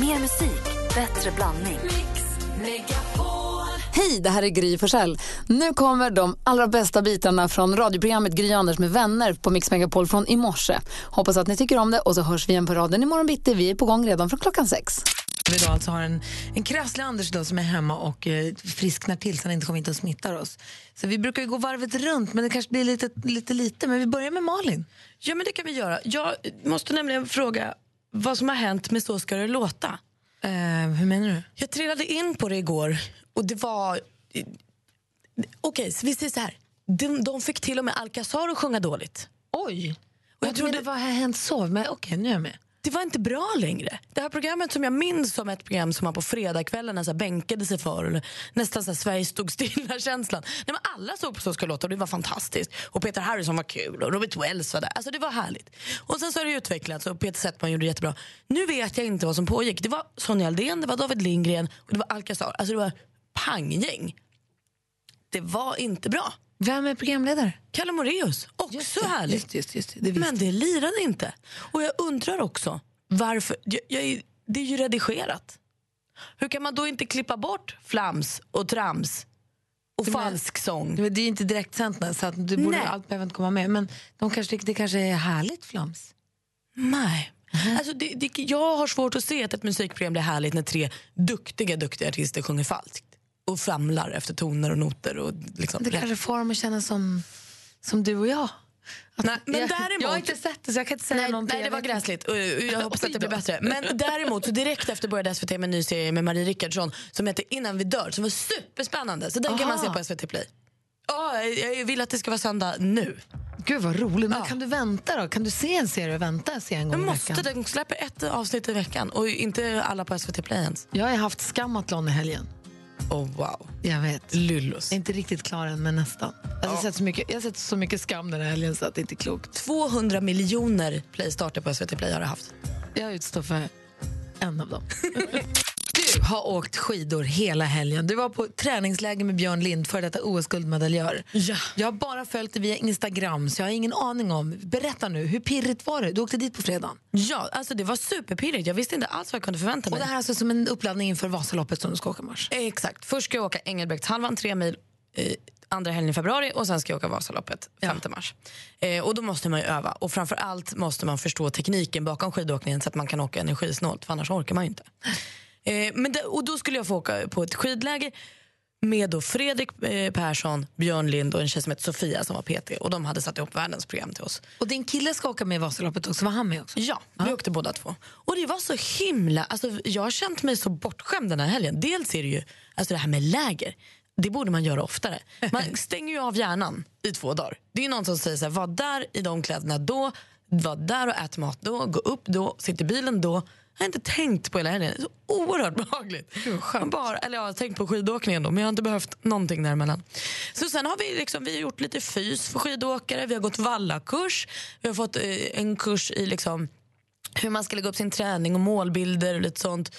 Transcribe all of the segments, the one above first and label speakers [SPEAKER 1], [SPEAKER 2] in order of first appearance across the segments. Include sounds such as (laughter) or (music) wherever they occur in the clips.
[SPEAKER 1] Mer musik, bättre blandning.
[SPEAKER 2] Hej, det här är Gry Forssell. Nu kommer de allra bästa bitarna från radioprogrammet Gry Anders med vänner på Mix Megapol från i morse. Hoppas att ni tycker om det och så hörs vi igen på raden imorgon bitti. Vi är på gång redan från klockan sex.
[SPEAKER 3] Vi då alltså har en, en krasslig Anders då som är hemma och eh, frisknar till så han inte kommer hit och smittar oss. Så vi brukar ju gå varvet runt, men det kanske blir lite lite. lite men vi börjar med Malin.
[SPEAKER 4] Ja, men det kan vi göra. Jag måste nämligen fråga vad som har hänt med Så ska det låta.
[SPEAKER 3] Eh, hur menar du?
[SPEAKER 4] Jag trillade in på det igår och det var... Okej, så vi säger så här. De, de fick till och med Alcazar att sjunga dåligt.
[SPEAKER 3] Oj!
[SPEAKER 4] Och jag trodde,
[SPEAKER 3] vad har hänt så? Men okej, nu är jag med.
[SPEAKER 4] det var inte bra längre. Det här programmet som jag minns som ett program som man på fredagskvällarna så här bänkade sig för. Eller nästan så här Sverige stod stilla-känslan. Nej, men alla såg på Så ska det låta och det var fantastiskt. Och Peter Harrison var kul och Robert Wells var där. Alltså det var härligt. Och sen så har det utvecklats och Peter Settman gjorde det jättebra. Nu vet jag inte vad som pågick. Det var Sonja Aldén, det var David Lindgren och det var Alcazar. Alltså det var panggäng. Det var inte bra.
[SPEAKER 3] Vem är programledare?
[SPEAKER 4] Kalle Moreus, också härligt.
[SPEAKER 3] Just, just, just, det
[SPEAKER 4] Men det lirade inte. Och jag undrar också varför. Jag, jag, är- det är ju redigerat. Hur kan man då inte klippa bort flams och trams och falsk sång?
[SPEAKER 3] Men det är ju inte direktsänt så att du borde,
[SPEAKER 4] Nej.
[SPEAKER 3] allt behöver inte komma med. Men de kanske, det kanske är härligt flams.
[SPEAKER 4] Nej. Alltså det, det, jag har svårt att se att ett musikprogram blir härligt när tre duktiga, duktiga artister sjunger falskt och famlar efter toner och noter. Och liksom.
[SPEAKER 3] Det kanske får dem att känna som, som du och jag. Att,
[SPEAKER 4] Nej, men
[SPEAKER 3] jag,
[SPEAKER 4] däremot-
[SPEAKER 3] jag har inte sett det så jag kan inte säga
[SPEAKER 4] Nej,
[SPEAKER 3] någonting.
[SPEAKER 4] nej, det
[SPEAKER 3] Jag
[SPEAKER 4] var
[SPEAKER 3] vet inte.
[SPEAKER 4] gräsligt. Och, och (laughs) jag hoppas att det blir
[SPEAKER 3] då.
[SPEAKER 4] bättre. Men däremot, så direkt efter började SVT med en ny serie med Marie Rickardsson som heter Innan vi dör, som var superspännande. Så den kan man se
[SPEAKER 3] Aha.
[SPEAKER 4] på SVT Play. Ja, jag vill att det ska vara söndag nu.
[SPEAKER 3] Gud vad roligt. Men kan du vänta då? Kan du se en serie och vänta se en gång
[SPEAKER 4] Men
[SPEAKER 3] i
[SPEAKER 4] måste
[SPEAKER 3] veckan?
[SPEAKER 4] den släpper ett avsnitt i veckan och inte alla på SVT Play ens.
[SPEAKER 3] Jag har haft skamatlon i helgen.
[SPEAKER 4] Oh, wow.
[SPEAKER 3] Jag vet.
[SPEAKER 4] Lyllos.
[SPEAKER 3] Jag är inte riktigt klar än, men nästan. Alltså, Jag har, sett, så mycket, jag har sett så mycket skam den här helgen så att det inte är klokt.
[SPEAKER 4] 200 miljoner playstarter på SVT Play har det haft.
[SPEAKER 3] Jag utstår för en av dem. (laughs) du har åkt skidor hela helgen. Du var på träningsläger med Björn Lind, före detta OS-guldmedaljör.
[SPEAKER 4] Ja.
[SPEAKER 3] Jag har bara följt det via Instagram, så jag har ingen aning om. Berätta nu, hur pirrigt var det? Du åkte dit på fredagen.
[SPEAKER 4] Ja, alltså det var superpirrigt. Jag visste inte alls vad jag kunde förvänta mig.
[SPEAKER 3] Och det här är alltså som en uppladdning inför Vasaloppet som du ska åka i mars.
[SPEAKER 4] Exakt. Först ska jag åka Engelbrektshalvan, tre mil, eh, andra helgen i februari och sen ska jag åka Vasaloppet, 5 mars. Eh, och då måste man ju öva. Och framför allt måste man förstå tekniken bakom skidåkningen så att man kan åka energisnålt, för annars orkar man ju inte. Eh, men det, och då skulle jag få åka på ett skidläger med då Fredrik eh, Persson, Björn Lind och en tjej som heter Sofia som var PT. Och de hade satt ihop världens program till oss.
[SPEAKER 3] Och din kille ska åka med i Vasaloppet också. Var han med också?
[SPEAKER 4] Ja, vi åkte båda två. Och det var så himla... Alltså, jag har känt mig så bortskämd den här helgen. Dels är det ju alltså det här med läger. Det borde man göra oftare. Man stänger ju av hjärnan i två dagar. Det är någon som säger så här, var där i de kläderna då, var där och ät mat då, gå upp då, sitt i bilen då. Jag har inte tänkt på hela helgen. Det är så oerhört behagligt. Man Bara, eller jag har tänkt på skidåkningen då, men jag har inte behövt någonting däremellan. Så sen har vi, liksom, vi har gjort lite fys för skidåkare, vi har gått vallakurs, vi har fått eh, en kurs i liksom, hur man ska lägga upp sin träning och målbilder och lite sånt.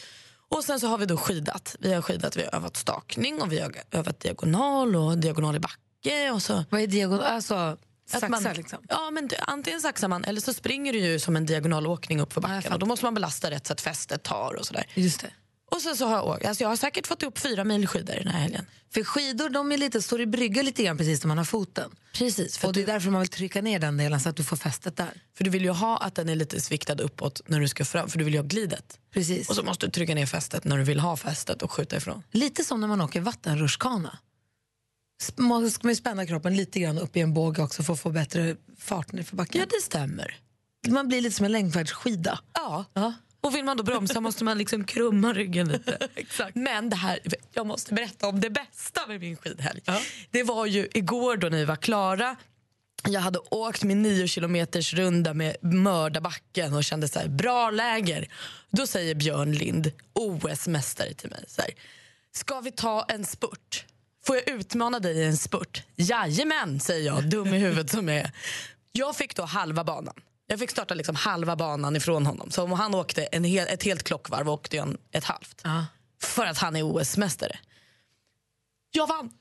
[SPEAKER 4] Och sen så har vi då skidat. Vi har skidat, vi har övat stakning och vi har övat diagonal och diagonal i backe och så.
[SPEAKER 3] Vad är diagon... Alltså, saxa
[SPEAKER 4] man,
[SPEAKER 3] liksom?
[SPEAKER 4] Ja, men du- antingen saxar man eller så springer du ju som en diagonalåkning upp för
[SPEAKER 3] jag
[SPEAKER 4] backen och då måste man belasta rätt så att fästet tar och sådär.
[SPEAKER 3] Just det.
[SPEAKER 4] Och sen så har jag åkt, alltså jag har säkert fått upp fyra mil skidor den här helgen.
[SPEAKER 3] För skidor de är lite, står i brygga lite grann precis när man har foten.
[SPEAKER 4] Precis, för,
[SPEAKER 3] och det är därför man vill trycka ner den delen så att du får fästet där.
[SPEAKER 4] för du vill ju ha att den är lite sviktad uppåt när du ska fram, för du vill ju ha glidet.
[SPEAKER 3] Precis.
[SPEAKER 4] Och så måste du trycka ner fästet när du vill ha fästet och skjuta ifrån.
[SPEAKER 3] Lite som när man åker vattenrutschkana. S- Man ska man ju spänna kroppen lite grann upp i en båge också för att få bättre fart nerför
[SPEAKER 4] Ja,
[SPEAKER 3] backen.
[SPEAKER 4] det stämmer.
[SPEAKER 3] Man blir lite som en längdfärdsskida.
[SPEAKER 4] Ja. Och vill man då bromsa måste man liksom krumma
[SPEAKER 3] (laughs)
[SPEAKER 4] ryggen lite. Men det här, jag måste berätta om det bästa med min skidhelg. Det var ju igår då när vi var klara. Jag hade åkt min 9 kilometers runda med mördarbacken och kände så här, bra läger. Då säger Björn Lind, OS-mästare till mig, så här, ska vi ta en spurt? Får jag utmana dig i en spurt? Jajamän, säger jag, dum i huvudet som jag är. Jag fick då halva banan. Jag fick starta liksom halva banan ifrån honom. Så om han åkte en hel, ett helt klockvarv åkte jag en, ett halvt. För att han är OS-mästare. Jag vann!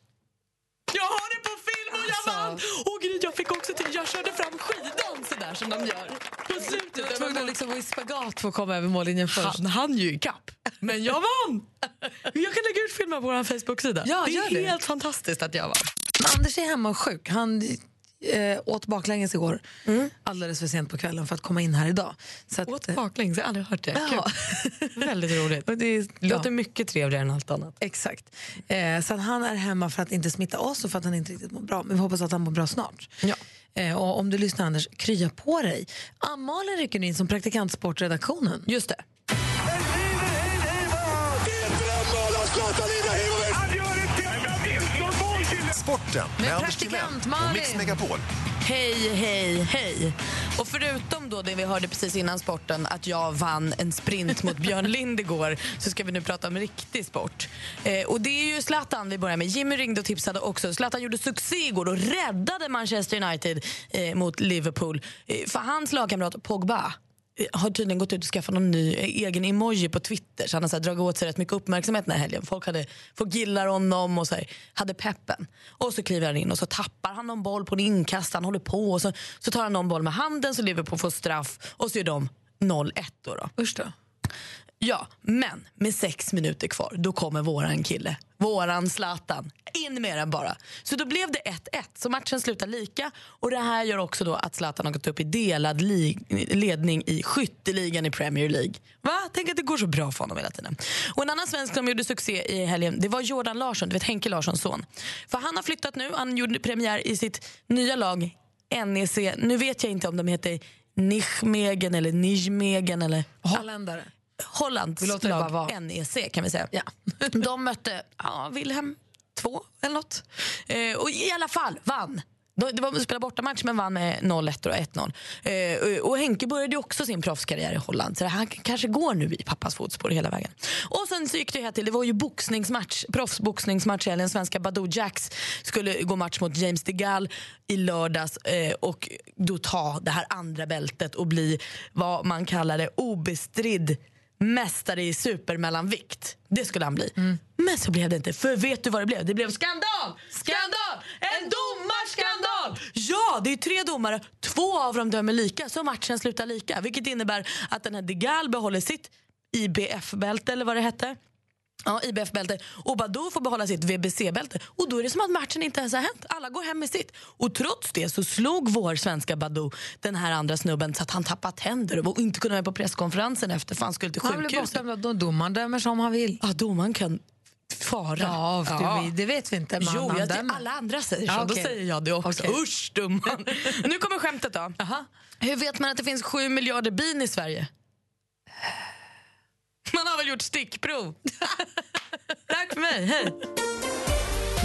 [SPEAKER 4] Jag har det på film! själv och jag vann!
[SPEAKER 3] Alltså.
[SPEAKER 4] Och Gry, jag fick också till, jag körde fram skidan sådär som de gör. På
[SPEAKER 3] Du var
[SPEAKER 4] slutet.
[SPEAKER 3] tvungen att liksom gå i spagat för att komma över mållinjen först.
[SPEAKER 4] Han hann ju ikapp, men jag vann! Jag kan lägga ut filmen på vår Facebook-sida.
[SPEAKER 3] Ja,
[SPEAKER 4] det
[SPEAKER 3] gör
[SPEAKER 4] är
[SPEAKER 3] det.
[SPEAKER 4] helt fantastiskt att jag vann.
[SPEAKER 3] Anders är hemma och sjuk. Han eh, åt baklänges igår alldeles för sent på kvällen för att komma in här idag. Så att, eh,
[SPEAKER 4] Åt baklänges, jag har aldrig hört det.
[SPEAKER 3] Ja.
[SPEAKER 4] Kul. (laughs) Väldigt roligt.
[SPEAKER 3] Och det är-
[SPEAKER 4] Låter mycket trevligare än allt annat.
[SPEAKER 3] Exakt. Eh, så att han är hemma för att inte smitta oss och för att han inte riktigt mår bra. Men vi hoppas att han mår bra snart.
[SPEAKER 4] Ja.
[SPEAKER 3] Eh, och om du lyssnar Anders, krya på dig. Ann-Malin rycker in som praktikant sportredaktionen.
[SPEAKER 4] Just det.
[SPEAKER 5] Sporten med Anders
[SPEAKER 3] praktikant
[SPEAKER 5] Timell och Mix
[SPEAKER 3] Malin.
[SPEAKER 5] Megapol.
[SPEAKER 4] Hej, hej, hej. Och förutom då det vi hörde precis innan sporten att jag vann en sprint mot Björn Lind igår så ska vi nu prata om riktig sport. Eh, och det är ju Zlatan vi börjar med. Jimmy ringde och tipsade också. Zlatan gjorde succé igår och räddade Manchester United eh, mot Liverpool. Eh, för hans lagkamrat Pogba eh, har tydligen gått ut och skaffat någon ny eh, egen emoji på Twitter så han har så här dragit åt sig rätt mycket uppmärksamhet den här helgen. Folk hade, folk gillar honom och så här, hade peppen. Och så kliver han in och så tappar han någon boll på en inkast, han håller på och så, så tar han någon boll med handen så Liverpool får straff och så är de 0-1 då. då.
[SPEAKER 3] Usch då.
[SPEAKER 4] Ja, men med sex minuter kvar, då kommer våran kille. Våran Zlatan. In med den bara. Så då blev det 1-1, så matchen slutar lika. Och Det här gör också då att Zlatan har gått upp i delad lig- ledning i skytteligan i Premier League. Va? Tänk att det går så bra för honom hela tiden. Och En annan svensk som gjorde succé i helgen det var Jordan Larsson, du vet Henke Larssons son. För Han har flyttat nu, han gjorde premiär i sitt nya lag NEC. Nu vet jag inte om de heter Nijmegen eller Nijmegen eller...
[SPEAKER 3] Holländare.
[SPEAKER 4] Hollands
[SPEAKER 3] Vi låter det bara
[SPEAKER 4] lag
[SPEAKER 3] vara.
[SPEAKER 4] NEC kan vi säga. (laughs)
[SPEAKER 3] Ja.
[SPEAKER 4] De mötte ja, Wilhelm 2 eller något. Eh, och i alla fall vann. De- Det var de spelade bortamatch men vann med 0-1 och 1-0. Eh, och- och Henke började ju också sin proffskarriär i Holland så det här k- kanske går nu i pappas fotspår hela vägen. Och sen så gick det här till, det var ju boxningsmatch, proffsboxningsmatch i helgen. Svenska Badou Jacks skulle gå match mot James de Gall i lördags eh, och då ta det här andra bältet och bli vad man kallar det obestridd mästare i supermellanvikt. Det skulle han bli. Men så blev det inte. För vet du vad det blev? Det blev skandal! Skandal! En domarskandal! Ja, det är tre domare. Två av dem dömer lika, så matchen slutar lika. Vilket innebär att den här De Gall behåller sitt IBF-bälte, eller vad det hette. Ja, IBF-bälte. Och Badou får behålla sitt VBC-bälte. Och då är det som att matchen inte ens har hänt. Alla går hem med sitt. Och trots det så slog vår svenska Badou den här andra snubben så att han tappade tänder och inte kunde vara med på presskonferensen efter för han skulle till
[SPEAKER 3] Han blir
[SPEAKER 4] sjukhuset.
[SPEAKER 3] bortdömd av domaren, dömer som han vill.
[SPEAKER 4] Ja, domaren kan fara.
[SPEAKER 3] Ja, för vi- det vet vi inte. Men
[SPEAKER 4] Jo,
[SPEAKER 3] han
[SPEAKER 4] jag,
[SPEAKER 3] dömer.
[SPEAKER 4] alla andra säger så.
[SPEAKER 3] Ja,
[SPEAKER 4] Då
[SPEAKER 3] okej.
[SPEAKER 4] säger jag det också.
[SPEAKER 3] Okej.
[SPEAKER 4] Usch, dumman. (laughs) nu kommer skämtet då. Hur vet man att det finns sju miljarder bin i Sverige? Man har väl gjort (laughs) stickprov? Tack för mig, hej.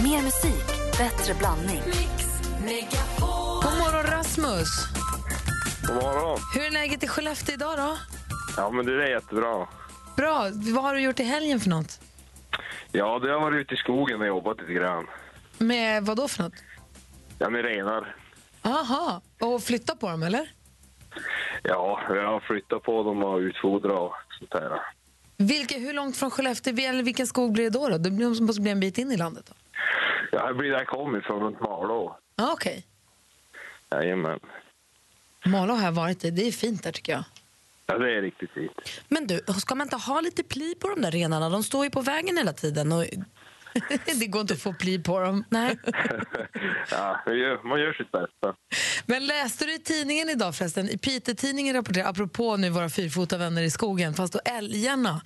[SPEAKER 1] Mer musik, bättre blandning.
[SPEAKER 3] God morgon Rasmus.
[SPEAKER 6] God morgon.
[SPEAKER 3] Hur är läget i Skellefteå idag då?
[SPEAKER 6] Ja, men det är jättebra.
[SPEAKER 3] Bra. Vad har du gjort i helgen för något?
[SPEAKER 6] Ja, du har varit ute i skogen och jobbat lite grann.
[SPEAKER 3] Med vad då för något?
[SPEAKER 6] Ja, med renar.
[SPEAKER 3] Aha. och flytta på dem eller?
[SPEAKER 6] Ja, jag har flyttat på dem och utfodrat och sånt där.
[SPEAKER 3] Vilke, hur långt från Skellefteå, eller vilken skog blir det då? då? Det blir- måste bli en bit in i landet då?
[SPEAKER 6] Ja, jag blir där jag kommer ifrån, runt Malå.
[SPEAKER 3] Ja, Ah, okej.
[SPEAKER 6] Jajamän.
[SPEAKER 3] Malå har jag varit i, det är fint där tycker jag.
[SPEAKER 6] Ja, det är riktigt fint. (laughs)
[SPEAKER 4] Men du, ska man inte ha lite pli på de där renarna? De står ju på vägen hela tiden. Och...
[SPEAKER 3] (laughs) det går inte att få pli på dem.
[SPEAKER 4] Nej.
[SPEAKER 6] Ja, man gör, man gör sitt bästa.
[SPEAKER 3] Men läste du i tidningen idag förresten? I Piteå-tidningen rapporterar, apropå nu våra fyrfota vänner i skogen, fast då älgarna.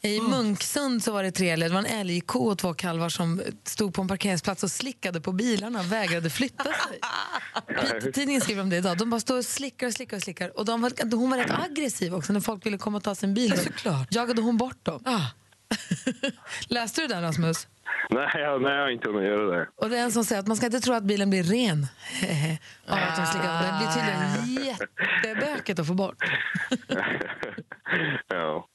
[SPEAKER 3] I Munksund så var det tre älgar. Det var en älgko och två kalvar som stod på en parkeringsplats och slickade på bilarna och vägrade flytta sig. Piteå-tidningen skriver om det idag. De bara står och slickar och slickar och slickar. Och de var, hon var rätt aggressiv också när folk ville komma och ta sin bil. Då
[SPEAKER 4] såklart.
[SPEAKER 3] jagade hon bort dem.
[SPEAKER 4] Ah.
[SPEAKER 3] (laughs) Läste du det Rasmus?
[SPEAKER 6] Nej, jag, nej, jag har inte hunnit göra (laughs) det.
[SPEAKER 3] Och det är en som säger att man ska inte tro att bilen blir ren. (laughs) Av att de slickar. Den blir tydligen jättebökigt att få bort.
[SPEAKER 6] ja.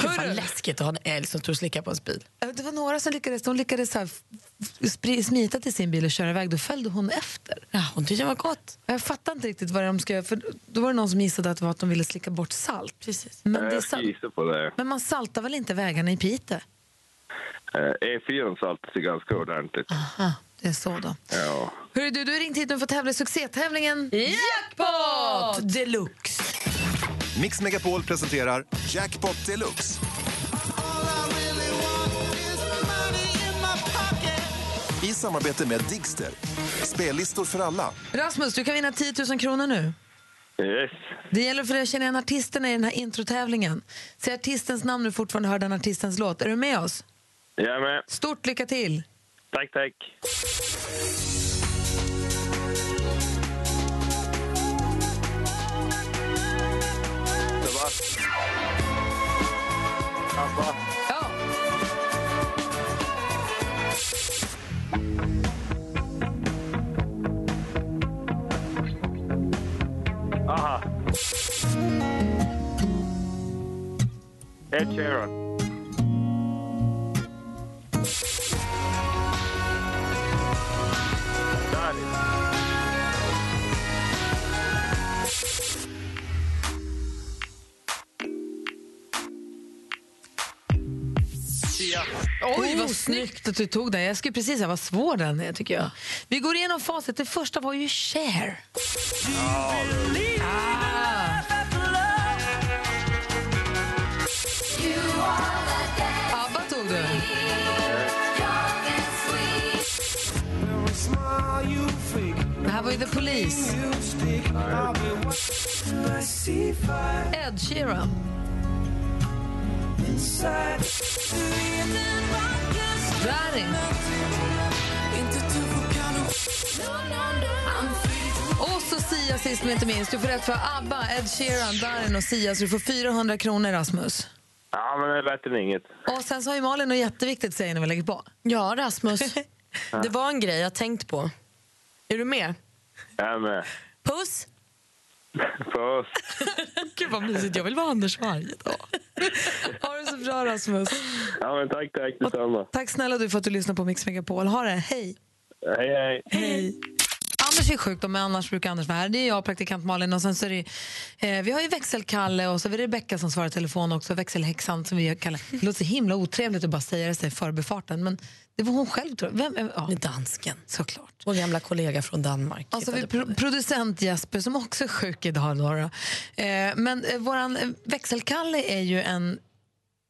[SPEAKER 4] Fan, läskigt att ha en älg som står och slickar på en bil.
[SPEAKER 3] Det var några som lyckades, de lyckades så här f- spri- smita till sin bil och köra iväg. Då följde hon efter.
[SPEAKER 4] Ja, hon tyckte det var gott.
[SPEAKER 3] Jag fattar inte riktigt vad de ska göra. För då var det någon som gissade att det var att de ville slicka bort salt.
[SPEAKER 4] Precis.
[SPEAKER 3] Men, det är
[SPEAKER 6] Jag ska
[SPEAKER 3] salt.
[SPEAKER 6] gissa på det.
[SPEAKER 3] Men man saltar väl inte vägarna i Piteå?
[SPEAKER 6] E Eh, E4 saltas ju ganska ordentligt.
[SPEAKER 3] Aha, Det är så då.
[SPEAKER 6] Ja.
[SPEAKER 3] Hörru du, du har ringt hit och fått tävla i succétävlingen Jackpot deluxe.
[SPEAKER 5] Mix Megapol presenterar Jackpot Deluxe. I samarbete med Digster. Spellistor för alla.
[SPEAKER 3] Rasmus, du kan vinna 10 000 kronor nu.
[SPEAKER 6] Yes.
[SPEAKER 3] Det gäller för dig att känna igen artisterna i den här introtävlingen. Säg artistens namn när du fortfarande hör den artistens låt. Är du med oss?
[SPEAKER 6] Jag är med.
[SPEAKER 3] Stort lycka till!
[SPEAKER 6] Tack, tack.
[SPEAKER 3] Ja.
[SPEAKER 6] Aha. Ed Sheeran. Darin.
[SPEAKER 3] Oj, vad snyggt att du tog den. Jag skulle precis säga vad svår den är, tycker jag. Vi går igenom facit. Det första var ju Cher. Ah. Abba tog du. Det här var ju The Police. Ed Sheeran. Darin. Och så Sia sist men inte minst. Du får rätt för ABBA, Ed Sheeran, Darin och Sia. Så du får 400 kronor, Rasmus.
[SPEAKER 6] Ja, men det är bättre än inget.
[SPEAKER 3] Och sen så har ju Malin något jätteviktigt säger när vi lägger på.
[SPEAKER 4] Ja,
[SPEAKER 3] (laughs)
[SPEAKER 4] Rasmus. det var en grej jag tänkt på. Är du med?
[SPEAKER 6] Jag är med.
[SPEAKER 4] Puss!
[SPEAKER 6] (laughs) Puss.
[SPEAKER 4] Gud vad mysigt, jag vill vara Anders varje dag.
[SPEAKER 3] (laughs) Ha det så bra Rasmus.
[SPEAKER 6] Ja, men tack, tack detsamma.
[SPEAKER 3] Tack snälla du för att du lyssnar på Mix Megapol. Ha det, hej.
[SPEAKER 6] Hej, hej.
[SPEAKER 3] Hej. Anders är sjuk, då, men annars brukar Anders vara här. Det är jag, praktikant Malin. Och sen så är det, eh, vi har ju växelkalle och så är det Rebecka som svarar i telefon också. Växelhäxan som vi kallar. Det låter så himla otrevligt att bara säga det sig i förbifarten. Men det var hon själv tror jag. Vem, eh, ja,
[SPEAKER 4] Med dansken.
[SPEAKER 3] såklart.
[SPEAKER 4] Vår gamla kollega från Danmark.
[SPEAKER 3] Och så har vi
[SPEAKER 4] hittade på
[SPEAKER 3] pro-
[SPEAKER 4] det.
[SPEAKER 3] producent Jesper som också är sjuk idag. Då, då. Eh, men eh, våran eh, växelkalle är ju en,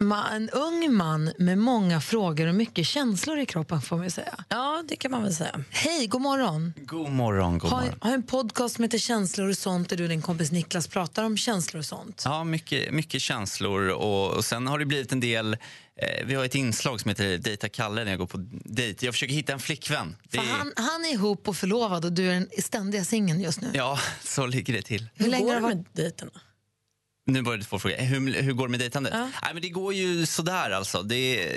[SPEAKER 3] ma- en ung man med många frågor och mycket känslor i kroppen får man ju säga.
[SPEAKER 4] Ja, det kan man väl säga.
[SPEAKER 3] Hej, god morgon.
[SPEAKER 7] God morgon, god
[SPEAKER 3] Har,
[SPEAKER 7] morgon.
[SPEAKER 3] har en podcast som heter Känslor och sånt där du och din kompis Niklas pratar om känslor och sånt.
[SPEAKER 7] Ja, mycket, mycket känslor. Och, och sen har det blivit en del... Eh, vi har ett inslag som heter Dejta Kalle när jag går på dejt. Jag försöker hitta en flickvän. Det
[SPEAKER 3] För
[SPEAKER 7] är-
[SPEAKER 3] han, han är ihop och förlovad och du är den ständiga singeln just nu.
[SPEAKER 7] Ja, (laughs) så ligger det till.
[SPEAKER 3] Hur länge
[SPEAKER 4] går
[SPEAKER 3] har
[SPEAKER 4] det
[SPEAKER 3] det varit?
[SPEAKER 4] med dejterna?
[SPEAKER 7] Nu var det två frågor. Hur, hur går det med dejtandet? Nej, men det går ju sådär alltså. Det,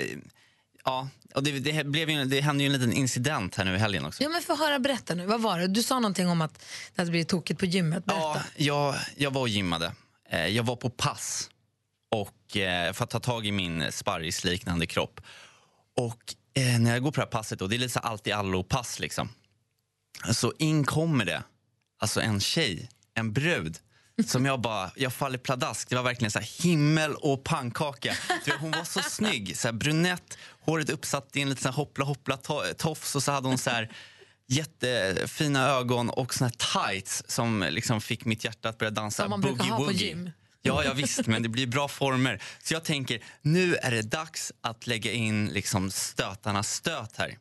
[SPEAKER 7] ja, och det, det, blev ju, det hände ju en liten incident här nu i helgen också.
[SPEAKER 3] Ja, men få höra, berätta nu. Vad var det? Du sa någonting om att det hade blivit tokigt på gymmet. Berätta.
[SPEAKER 7] Ja, jag, jag var och gymmade. Eh, Jag var på pass och, eh, för att ta tag i min sparrisliknande kropp. Och eh, när jag går på det här passet, då, det är lite så allt i allo-pass liksom. Så in kommer det, alltså en tjej, en brud. Som jag bara, jag faller pladask. Det var verkligen så här himmel och pannkaka. Du vet, hon var så snygg, så här brunett, håret uppsatt i en liten så här hoppla hoppla to- tofs och så hade hon så här jättefina ögon och såna här tights som liksom fick mitt hjärta att börja dansa
[SPEAKER 3] Som man brukar ha på gym.
[SPEAKER 7] Ja, ja, visst, men det blir bra former. Så jag tänker, nu är det dags att lägga in liksom stötarnas stöt här.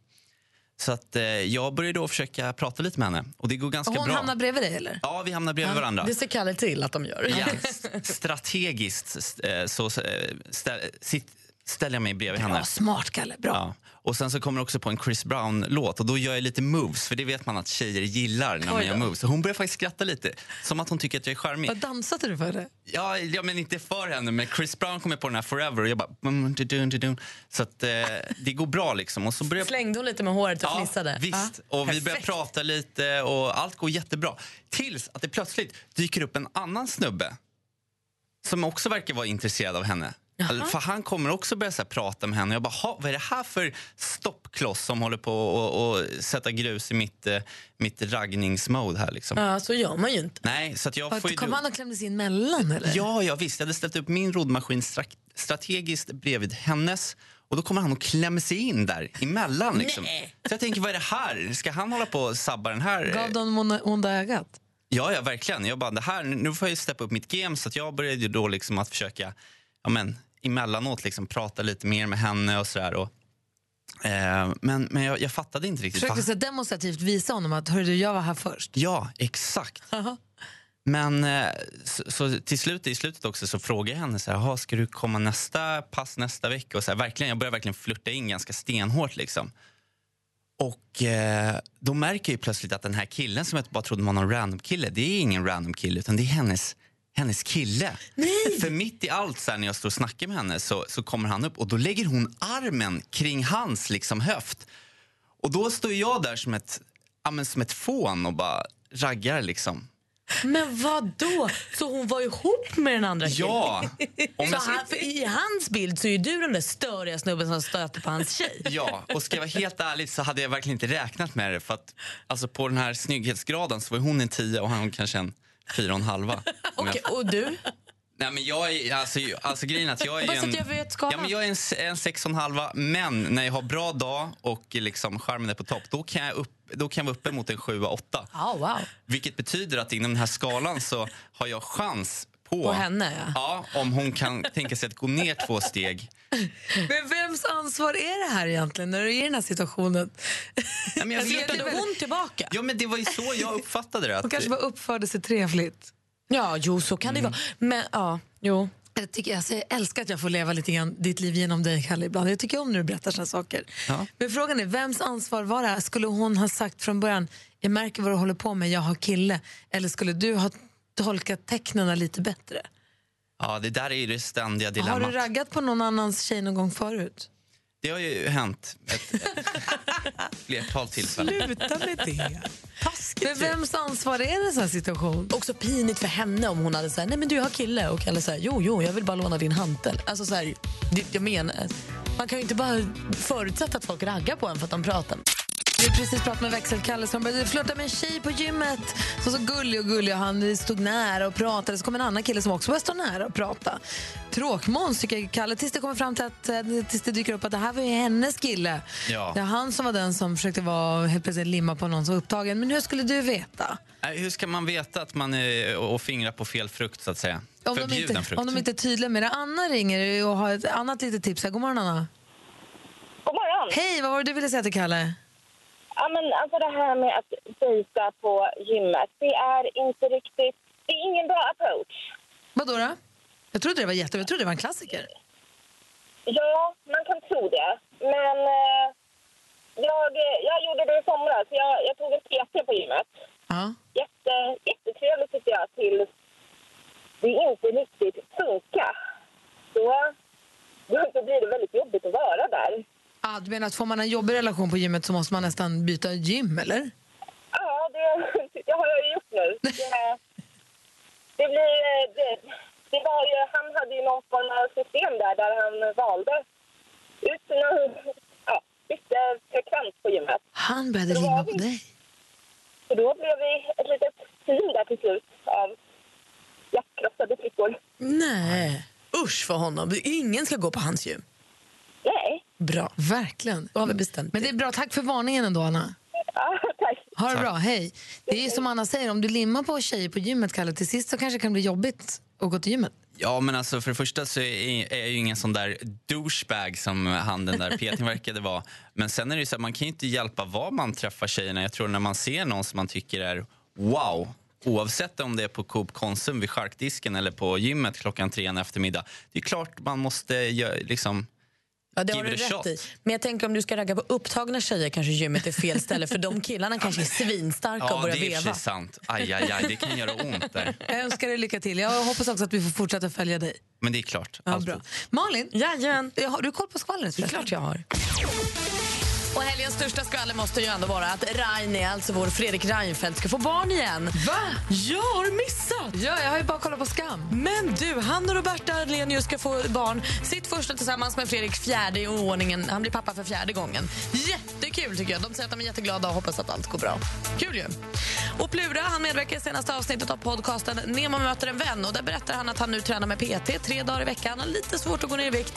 [SPEAKER 7] Så att eh, jag börjar då försöka prata lite med henne och det går ganska
[SPEAKER 3] Hon
[SPEAKER 7] bra.
[SPEAKER 3] hamnar bredvid dig eller?
[SPEAKER 7] Ja, vi hamnar bredvid varandra.
[SPEAKER 4] Det ser Kalle till att de gör.
[SPEAKER 7] Ja, s- strategiskt s- eh, så eh, stä- sitt- ställer jag mig bredvid henne.
[SPEAKER 3] (laughs) Ja, smart Kalle, bra.
[SPEAKER 7] Ja. Och sen så kommer det också på en Chris Brown-låt och då gör jag lite moves för det vet man att tjejer gillar när man gör moves. Och hon börjar faktiskt skratta lite, som att hon tycker att jag är charmig.
[SPEAKER 3] Vad dansade du för det?
[SPEAKER 7] Ja, ja, men inte för henne, men Chris Brown kommer på den här Forever och jag bara... mm, bum, du-dun, du-dun. Så att eh, det går bra liksom. Och så börjar
[SPEAKER 4] Slängde hon lite med håret och
[SPEAKER 7] Ja,
[SPEAKER 4] fnissade?
[SPEAKER 7] visst.
[SPEAKER 4] Ja.
[SPEAKER 7] Och vi börjar
[SPEAKER 4] Perfekt.
[SPEAKER 7] prata lite och allt går jättebra. Tills att det plötsligt dyker upp en annan snubbe som också verkar vara intresserad av henne. Eller, För Han kommer också börja så här, prata med henne. Jag bara, "Ha, vad är det här för stoppkloss som håller på och, och sätta grus i mitt, eh, mitt raggningsmode här liksom.
[SPEAKER 4] Ja, så gör man ju inte.
[SPEAKER 7] Nej, så att jag
[SPEAKER 3] Och
[SPEAKER 7] får ju...
[SPEAKER 3] Kom
[SPEAKER 7] dum-
[SPEAKER 3] han och klämdes in mellan eller?
[SPEAKER 7] Ja, ja, visst. Jag hade ställt upp min roddmaskin stra- strategiskt bredvid hennes Och då kommer han och klämmer sig in där emellan. Liksom.
[SPEAKER 4] Nej.
[SPEAKER 7] Så jag tänker, vad är det här? Ska han hålla på och sabba den här?
[SPEAKER 3] Gav de on- onda ögat?
[SPEAKER 7] Ja, ja, verkligen. Jag bara, det här, nu får jag ju steppa upp mitt game. Så att jag började ju då liksom att försöka ja, men, emellanåt liksom, prata lite mer med henne och sådär. Och, eh, men men jag, jag fattade inte riktigt.
[SPEAKER 3] Försökte
[SPEAKER 7] vad-
[SPEAKER 3] så demonstrativt visa honom att Hörru, du, jag var här först.
[SPEAKER 7] Ja, exakt.
[SPEAKER 3] (laughs) Aha.
[SPEAKER 7] Men eh, så, så till slut, i slutet också så frågade jag henne så här, "Jaha, ska du komma nästa pass nästa vecka? Och så här, verkligen, jag började verkligen flirta in ganska stenhårt. Liksom. Och eh, då märker jag ju plötsligt att den här killen som jag bara trodde var någon random kille, det är ingen random kille utan det är hennes, hennes kille. För mitt i allt så här, när jag står och snackar med henne så, så kommer han upp och då lägger hon armen kring hans liksom, höft. Och då står jag där som ett, ja, men som ett fån och bara raggar liksom.
[SPEAKER 4] Men vad då? Så hon var ihop med den andra killen? (laughs)
[SPEAKER 7] Ja! Om
[SPEAKER 4] Så
[SPEAKER 7] jag ska,
[SPEAKER 4] han, för I hans bild så är ju du den där störiga snubben som stöter på hans tjej.
[SPEAKER 7] ja, och ska jag vara helt ärlig så hade jag verkligen inte räknat med det. För att, alltså, på den här snygghetsgraden så var hon en 10 och han kanske en fyra och en halva. Om jag-
[SPEAKER 4] Okej,
[SPEAKER 3] (laughs)
[SPEAKER 4] och du?
[SPEAKER 7] Nej, men jag är, alltså, ju- alltså grejen är att jag
[SPEAKER 4] (laughs)
[SPEAKER 7] är
[SPEAKER 4] Bara
[SPEAKER 7] ju
[SPEAKER 4] så
[SPEAKER 7] en...
[SPEAKER 4] att jag vet skalan.
[SPEAKER 7] Ja, men jag är en, s- en sex och en halva, men när jag har bra dag och liksom skärmen är på topp, då kan jag, upp, då kan jag vara uppe mot en sjua, åtta.
[SPEAKER 4] Ja, wow.
[SPEAKER 7] Vilket betyder att inom den här skalan så har jag chans på...
[SPEAKER 4] På henne, ja.
[SPEAKER 7] Ja, om hon kan tänka sig att gå ner två steg.
[SPEAKER 3] Men vems ansvar är det här egentligen när du är i den här situationen? (laughs)
[SPEAKER 7] Nej, men jag
[SPEAKER 3] Alltså,
[SPEAKER 7] vet
[SPEAKER 3] jag
[SPEAKER 7] inte.
[SPEAKER 3] tror-
[SPEAKER 4] Hon tillbaka.
[SPEAKER 7] Ja, men det var ju så jag uppfattade det.
[SPEAKER 3] Hon
[SPEAKER 7] Att,
[SPEAKER 3] kanske bara uppförde sig trevligt.
[SPEAKER 4] Ja, jo, så kan det vara. Men ja, jo.
[SPEAKER 3] Jag, tycker, alltså, jag säger- älskar att jag får leva lite grann ditt liv genom dig, Kalle, ibland. Jag tycker om när du berättar såna saker.
[SPEAKER 7] Ja.
[SPEAKER 3] Men frågan är, vems ansvar var det här? Skulle hon ha sagt från början, jag märker vad du håller på med, jag har kille. Eller skulle du ha tolkat tecknen lite bättre?
[SPEAKER 7] Ja, det där är ju det ständiga dilemmat.
[SPEAKER 3] Har du raggat på någon annans tjej någon gång förut?
[SPEAKER 7] Det har ju hänt ett, ett flertal tillfällen.
[SPEAKER 4] Sluta med det.
[SPEAKER 3] Men
[SPEAKER 4] Taskigt.
[SPEAKER 3] vems ansvar är det i en sån här situation?
[SPEAKER 4] Också pinigt för henne om hon hade sagt nej men du jag har kille och Kalle säger jo jo jag vill bara låna din hantel. Alltså så här, det, jag menar, man kan ju inte bara förutsätta att folk raggar på en för att de pratar.
[SPEAKER 3] Vi har precis pratat med växelkalle som började flirta med en tjej på gymmet. Som så gullig och gullig och han stod nära och pratade. Så kom en annan kille som också började stå nära och prata. Tråkmåns tycker Kalle tills det kommer fram till att eh, tills det dyker upp att det här var ju hennes kille.
[SPEAKER 7] Ja.
[SPEAKER 3] Det var han som var den som försökte vara helt plötsligt limma på någon som var upptagen. Men hur skulle du veta?
[SPEAKER 7] Nej, Hur ska man veta att man är och fingrar på fel frukt så att säga?
[SPEAKER 3] Om de,
[SPEAKER 7] Förbjuden
[SPEAKER 3] inte,
[SPEAKER 7] frukt.
[SPEAKER 3] om de inte är tydliga med det. Anna ringer och har ett annat litet tips. här. God morgon Anna.
[SPEAKER 8] God morgon!
[SPEAKER 3] Hej, vad var det du ville säga till Kalle?
[SPEAKER 8] Ja, men alltså det här med att dejta på gymmet, det är inte riktigt... Det är ingen bra approach.
[SPEAKER 3] Vad då? Jag trodde det var jätte... Jag trodde det var en klassiker.
[SPEAKER 8] Ja, man kan tro det. Men eh, jag, jag gjorde det i somras. Jag, jag tog en PT på gymmet.
[SPEAKER 3] Ja.
[SPEAKER 8] Jätte, jättetrevligt tyckte jag tills det inte riktigt funkar. Då, då blir det väldigt jobbigt att vara där.
[SPEAKER 3] Ah, du menar att får man en jobbig relation på gymmet så måste man nästan byta gym, eller?
[SPEAKER 8] (laughs) Ja, det, det har jag ju gjort nu. Det, det blir... Det, det var ju, han hade ju någon form av system där, där han valde ut sina... Ja, bytte frekvens på gymmet.
[SPEAKER 3] Han började
[SPEAKER 8] Det var
[SPEAKER 3] limma på
[SPEAKER 8] vi.
[SPEAKER 3] dig.
[SPEAKER 8] Så då blev vi ett litet team där till slut av hjärtkrossade flickor.
[SPEAKER 4] Nej. Usch för honom. Ingen ska gå på hans gym.
[SPEAKER 8] Nej.
[SPEAKER 4] Bra.
[SPEAKER 3] Verkligen.
[SPEAKER 4] Då har vi bestämt
[SPEAKER 3] Men det är bra. Tack för varningen ändå, Anna.
[SPEAKER 8] Ja, tack.
[SPEAKER 3] Ha det bra. Hej. Det är som Anna säger, om du limmar på tjejer på gymmet, Kalle, till sist så kanske det kan bli jobbigt att gå till gymmet.
[SPEAKER 7] Ja, men alltså för det första så är är jag ju ingen sån där douchebag som han den
[SPEAKER 3] (laughs)
[SPEAKER 7] där Petin verkade vara. Men sen är det ju så att man kan ju inte hjälpa vad man träffar tjejerna. Jag tror när man ser någon som man tycker är wow, oavsett om det är på Coop Konsum vid charkdisken eller på gymmet klockan tre en eftermiddag. Det är klart man måste gö- liksom...
[SPEAKER 4] Ja, det har
[SPEAKER 7] Give
[SPEAKER 4] du
[SPEAKER 7] it a
[SPEAKER 4] rätt
[SPEAKER 7] shot.
[SPEAKER 4] i. Men jag tänker om du ska ragga på upptagna tjejer kanske gymmet är fel ställe för de killarna kanske är svinstarka och
[SPEAKER 7] (laughs) Ja, det
[SPEAKER 4] börjar
[SPEAKER 7] är i och för
[SPEAKER 4] veva.
[SPEAKER 7] sig sant. Aj, aj, aj, det kan göra ont där.
[SPEAKER 3] Jag önskar dig lycka till. Jag hoppas också att vi får fortsätta följa dig.
[SPEAKER 7] Men det är klart.
[SPEAKER 3] Ja,
[SPEAKER 7] alltid.
[SPEAKER 3] bra. Malin,
[SPEAKER 4] Jajamän.
[SPEAKER 3] har du koll på skvallret?
[SPEAKER 4] Det är klart jag har. Och helgens största skvaller måste ju ändå vara att Raine, alltså vår Fredrik Reinfeldt, ska få barn igen.
[SPEAKER 3] Va?
[SPEAKER 4] Jag har missat!
[SPEAKER 3] Ja, jag har ju bara kollat på Skam.
[SPEAKER 4] Men du, han och Roberta Arlenius ska få barn. Sitt första tillsammans med Fredrik, fjärde i ordningen. Han blir pappa för fjärde gången. Jättekul tycker jag. De säger att de är jätteglada och hoppas att allt går bra. Kul ju. Och Plura han medverkar i senaste avsnittet av podcasten Nemo möter en vän. Och där berättar han att han nu tränar med PT tre dagar i veckan. Han har lite svårt att gå ner i vikt.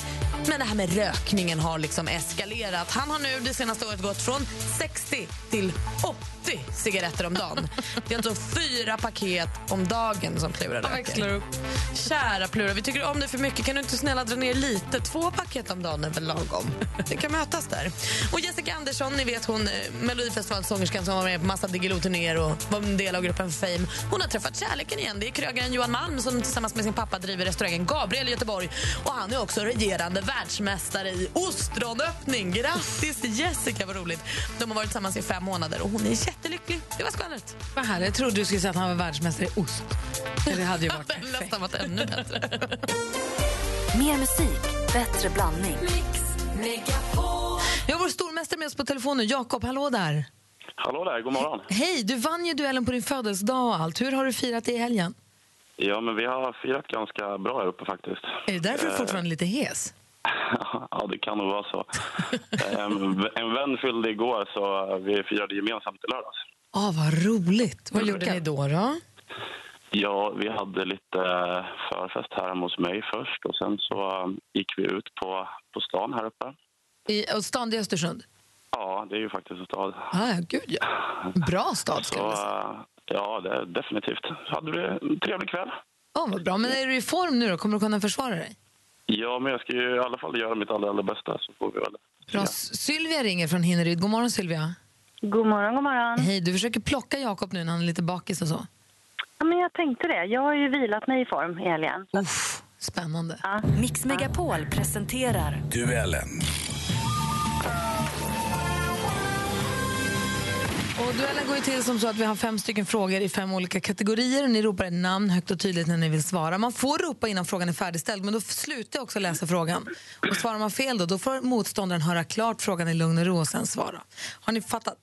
[SPEAKER 4] Men det här med rökningen har liksom eskalerat. Han har nu det senaste året gått från 60 till 80 cigaretter om dagen. Det är alltså fyra paket om dagen som Plura
[SPEAKER 3] Han växlar
[SPEAKER 4] röker.
[SPEAKER 3] upp.
[SPEAKER 4] Kära Plura, vi tycker om dig för mycket. Kan du inte snälla dra ner lite? Två paket om dagen är väl lagom? Vi kan mötas där. Och Jessica Andersson, ni vet hon eh, Melodifestivalsångerskan som var med på massa Diggiloo-turnéer och var en del av gruppen Fame. Hon har träffat kärleken igen. Det är krögaren Johan Malm som tillsammans med sin pappa driver restaurangen Gabriel i Göteborg. Och han är också regerande världsmästare i ostronöppning. Grattis till Jessica, vad roligt. De har varit tillsammans i fem månader och hon är jättelycklig. Det var skvallret.
[SPEAKER 3] Vad härligt. Jag trodde du skulle säga att han var världsmästare i ost. Det hade ju varit
[SPEAKER 4] Det hade
[SPEAKER 3] perfekt.
[SPEAKER 4] nästan varit ännu bättre.
[SPEAKER 1] Mer musik, bättre blandning.
[SPEAKER 3] Jag har vår stormästare med oss på telefon nu. Jakob, hallå där.
[SPEAKER 9] Hallå där, god morgon.
[SPEAKER 3] Hej, du vann ju duellen på din födelsedag och allt. Hur har du firat det i helgen?
[SPEAKER 9] Ja, men vi har firat ganska bra här uppe faktiskt.
[SPEAKER 3] Är det därför du
[SPEAKER 9] Eh,
[SPEAKER 3] fortfarande är lite hes?
[SPEAKER 9] ja, det kan nog vara
[SPEAKER 3] (laughs)
[SPEAKER 9] så. Em, en vän fyllde igår, så vi firade gemensamt i lördags.
[SPEAKER 3] Ah, vad roligt. Vad gjorde ni då? då?
[SPEAKER 9] Ja, vi hade lite eh, förfest här hemma hos mig först och sen så um, gick vi ut på, på stan här uppe.
[SPEAKER 3] I och stan i Östersund?
[SPEAKER 9] Ja, det är ju faktiskt en stad.
[SPEAKER 3] Ah, ja, gud ja. Bra stad ska
[SPEAKER 9] Så,
[SPEAKER 3] jag säga.
[SPEAKER 9] eh, ja, det, definitivt. Så hade vi en trevlig kväll.
[SPEAKER 3] Oh, vad bra. Men är du i form nu då? Kommer du kunna försvara dig?
[SPEAKER 9] Ja, men jag ska ju i alla fall göra mitt allra, allra bästa så får vi väl
[SPEAKER 3] Bra. Sylvia ringer från Hinneryd. God morgon Sylvia.
[SPEAKER 8] God morgon, god morgon.
[SPEAKER 3] Hej, du försöker plocka Jakob nu när han är lite bakis och så.
[SPEAKER 8] Ja, men jag tänkte det. Jag har ju vilat mig i form i helgen.
[SPEAKER 3] Uff, spännande.
[SPEAKER 1] Mix Megapol presenterar
[SPEAKER 3] Och duellen går ju till som så att vi har fem stycken frågor i fem olika kategorier och ni ropar ett namn högt och tydligt när ni vill svara. Man får ropa innan frågan är färdigställd men då slutar jag också läsa frågan. Och svarar man fel då, då får motståndaren höra klart frågan i lugn och ro och sen svara. Har ni fattat?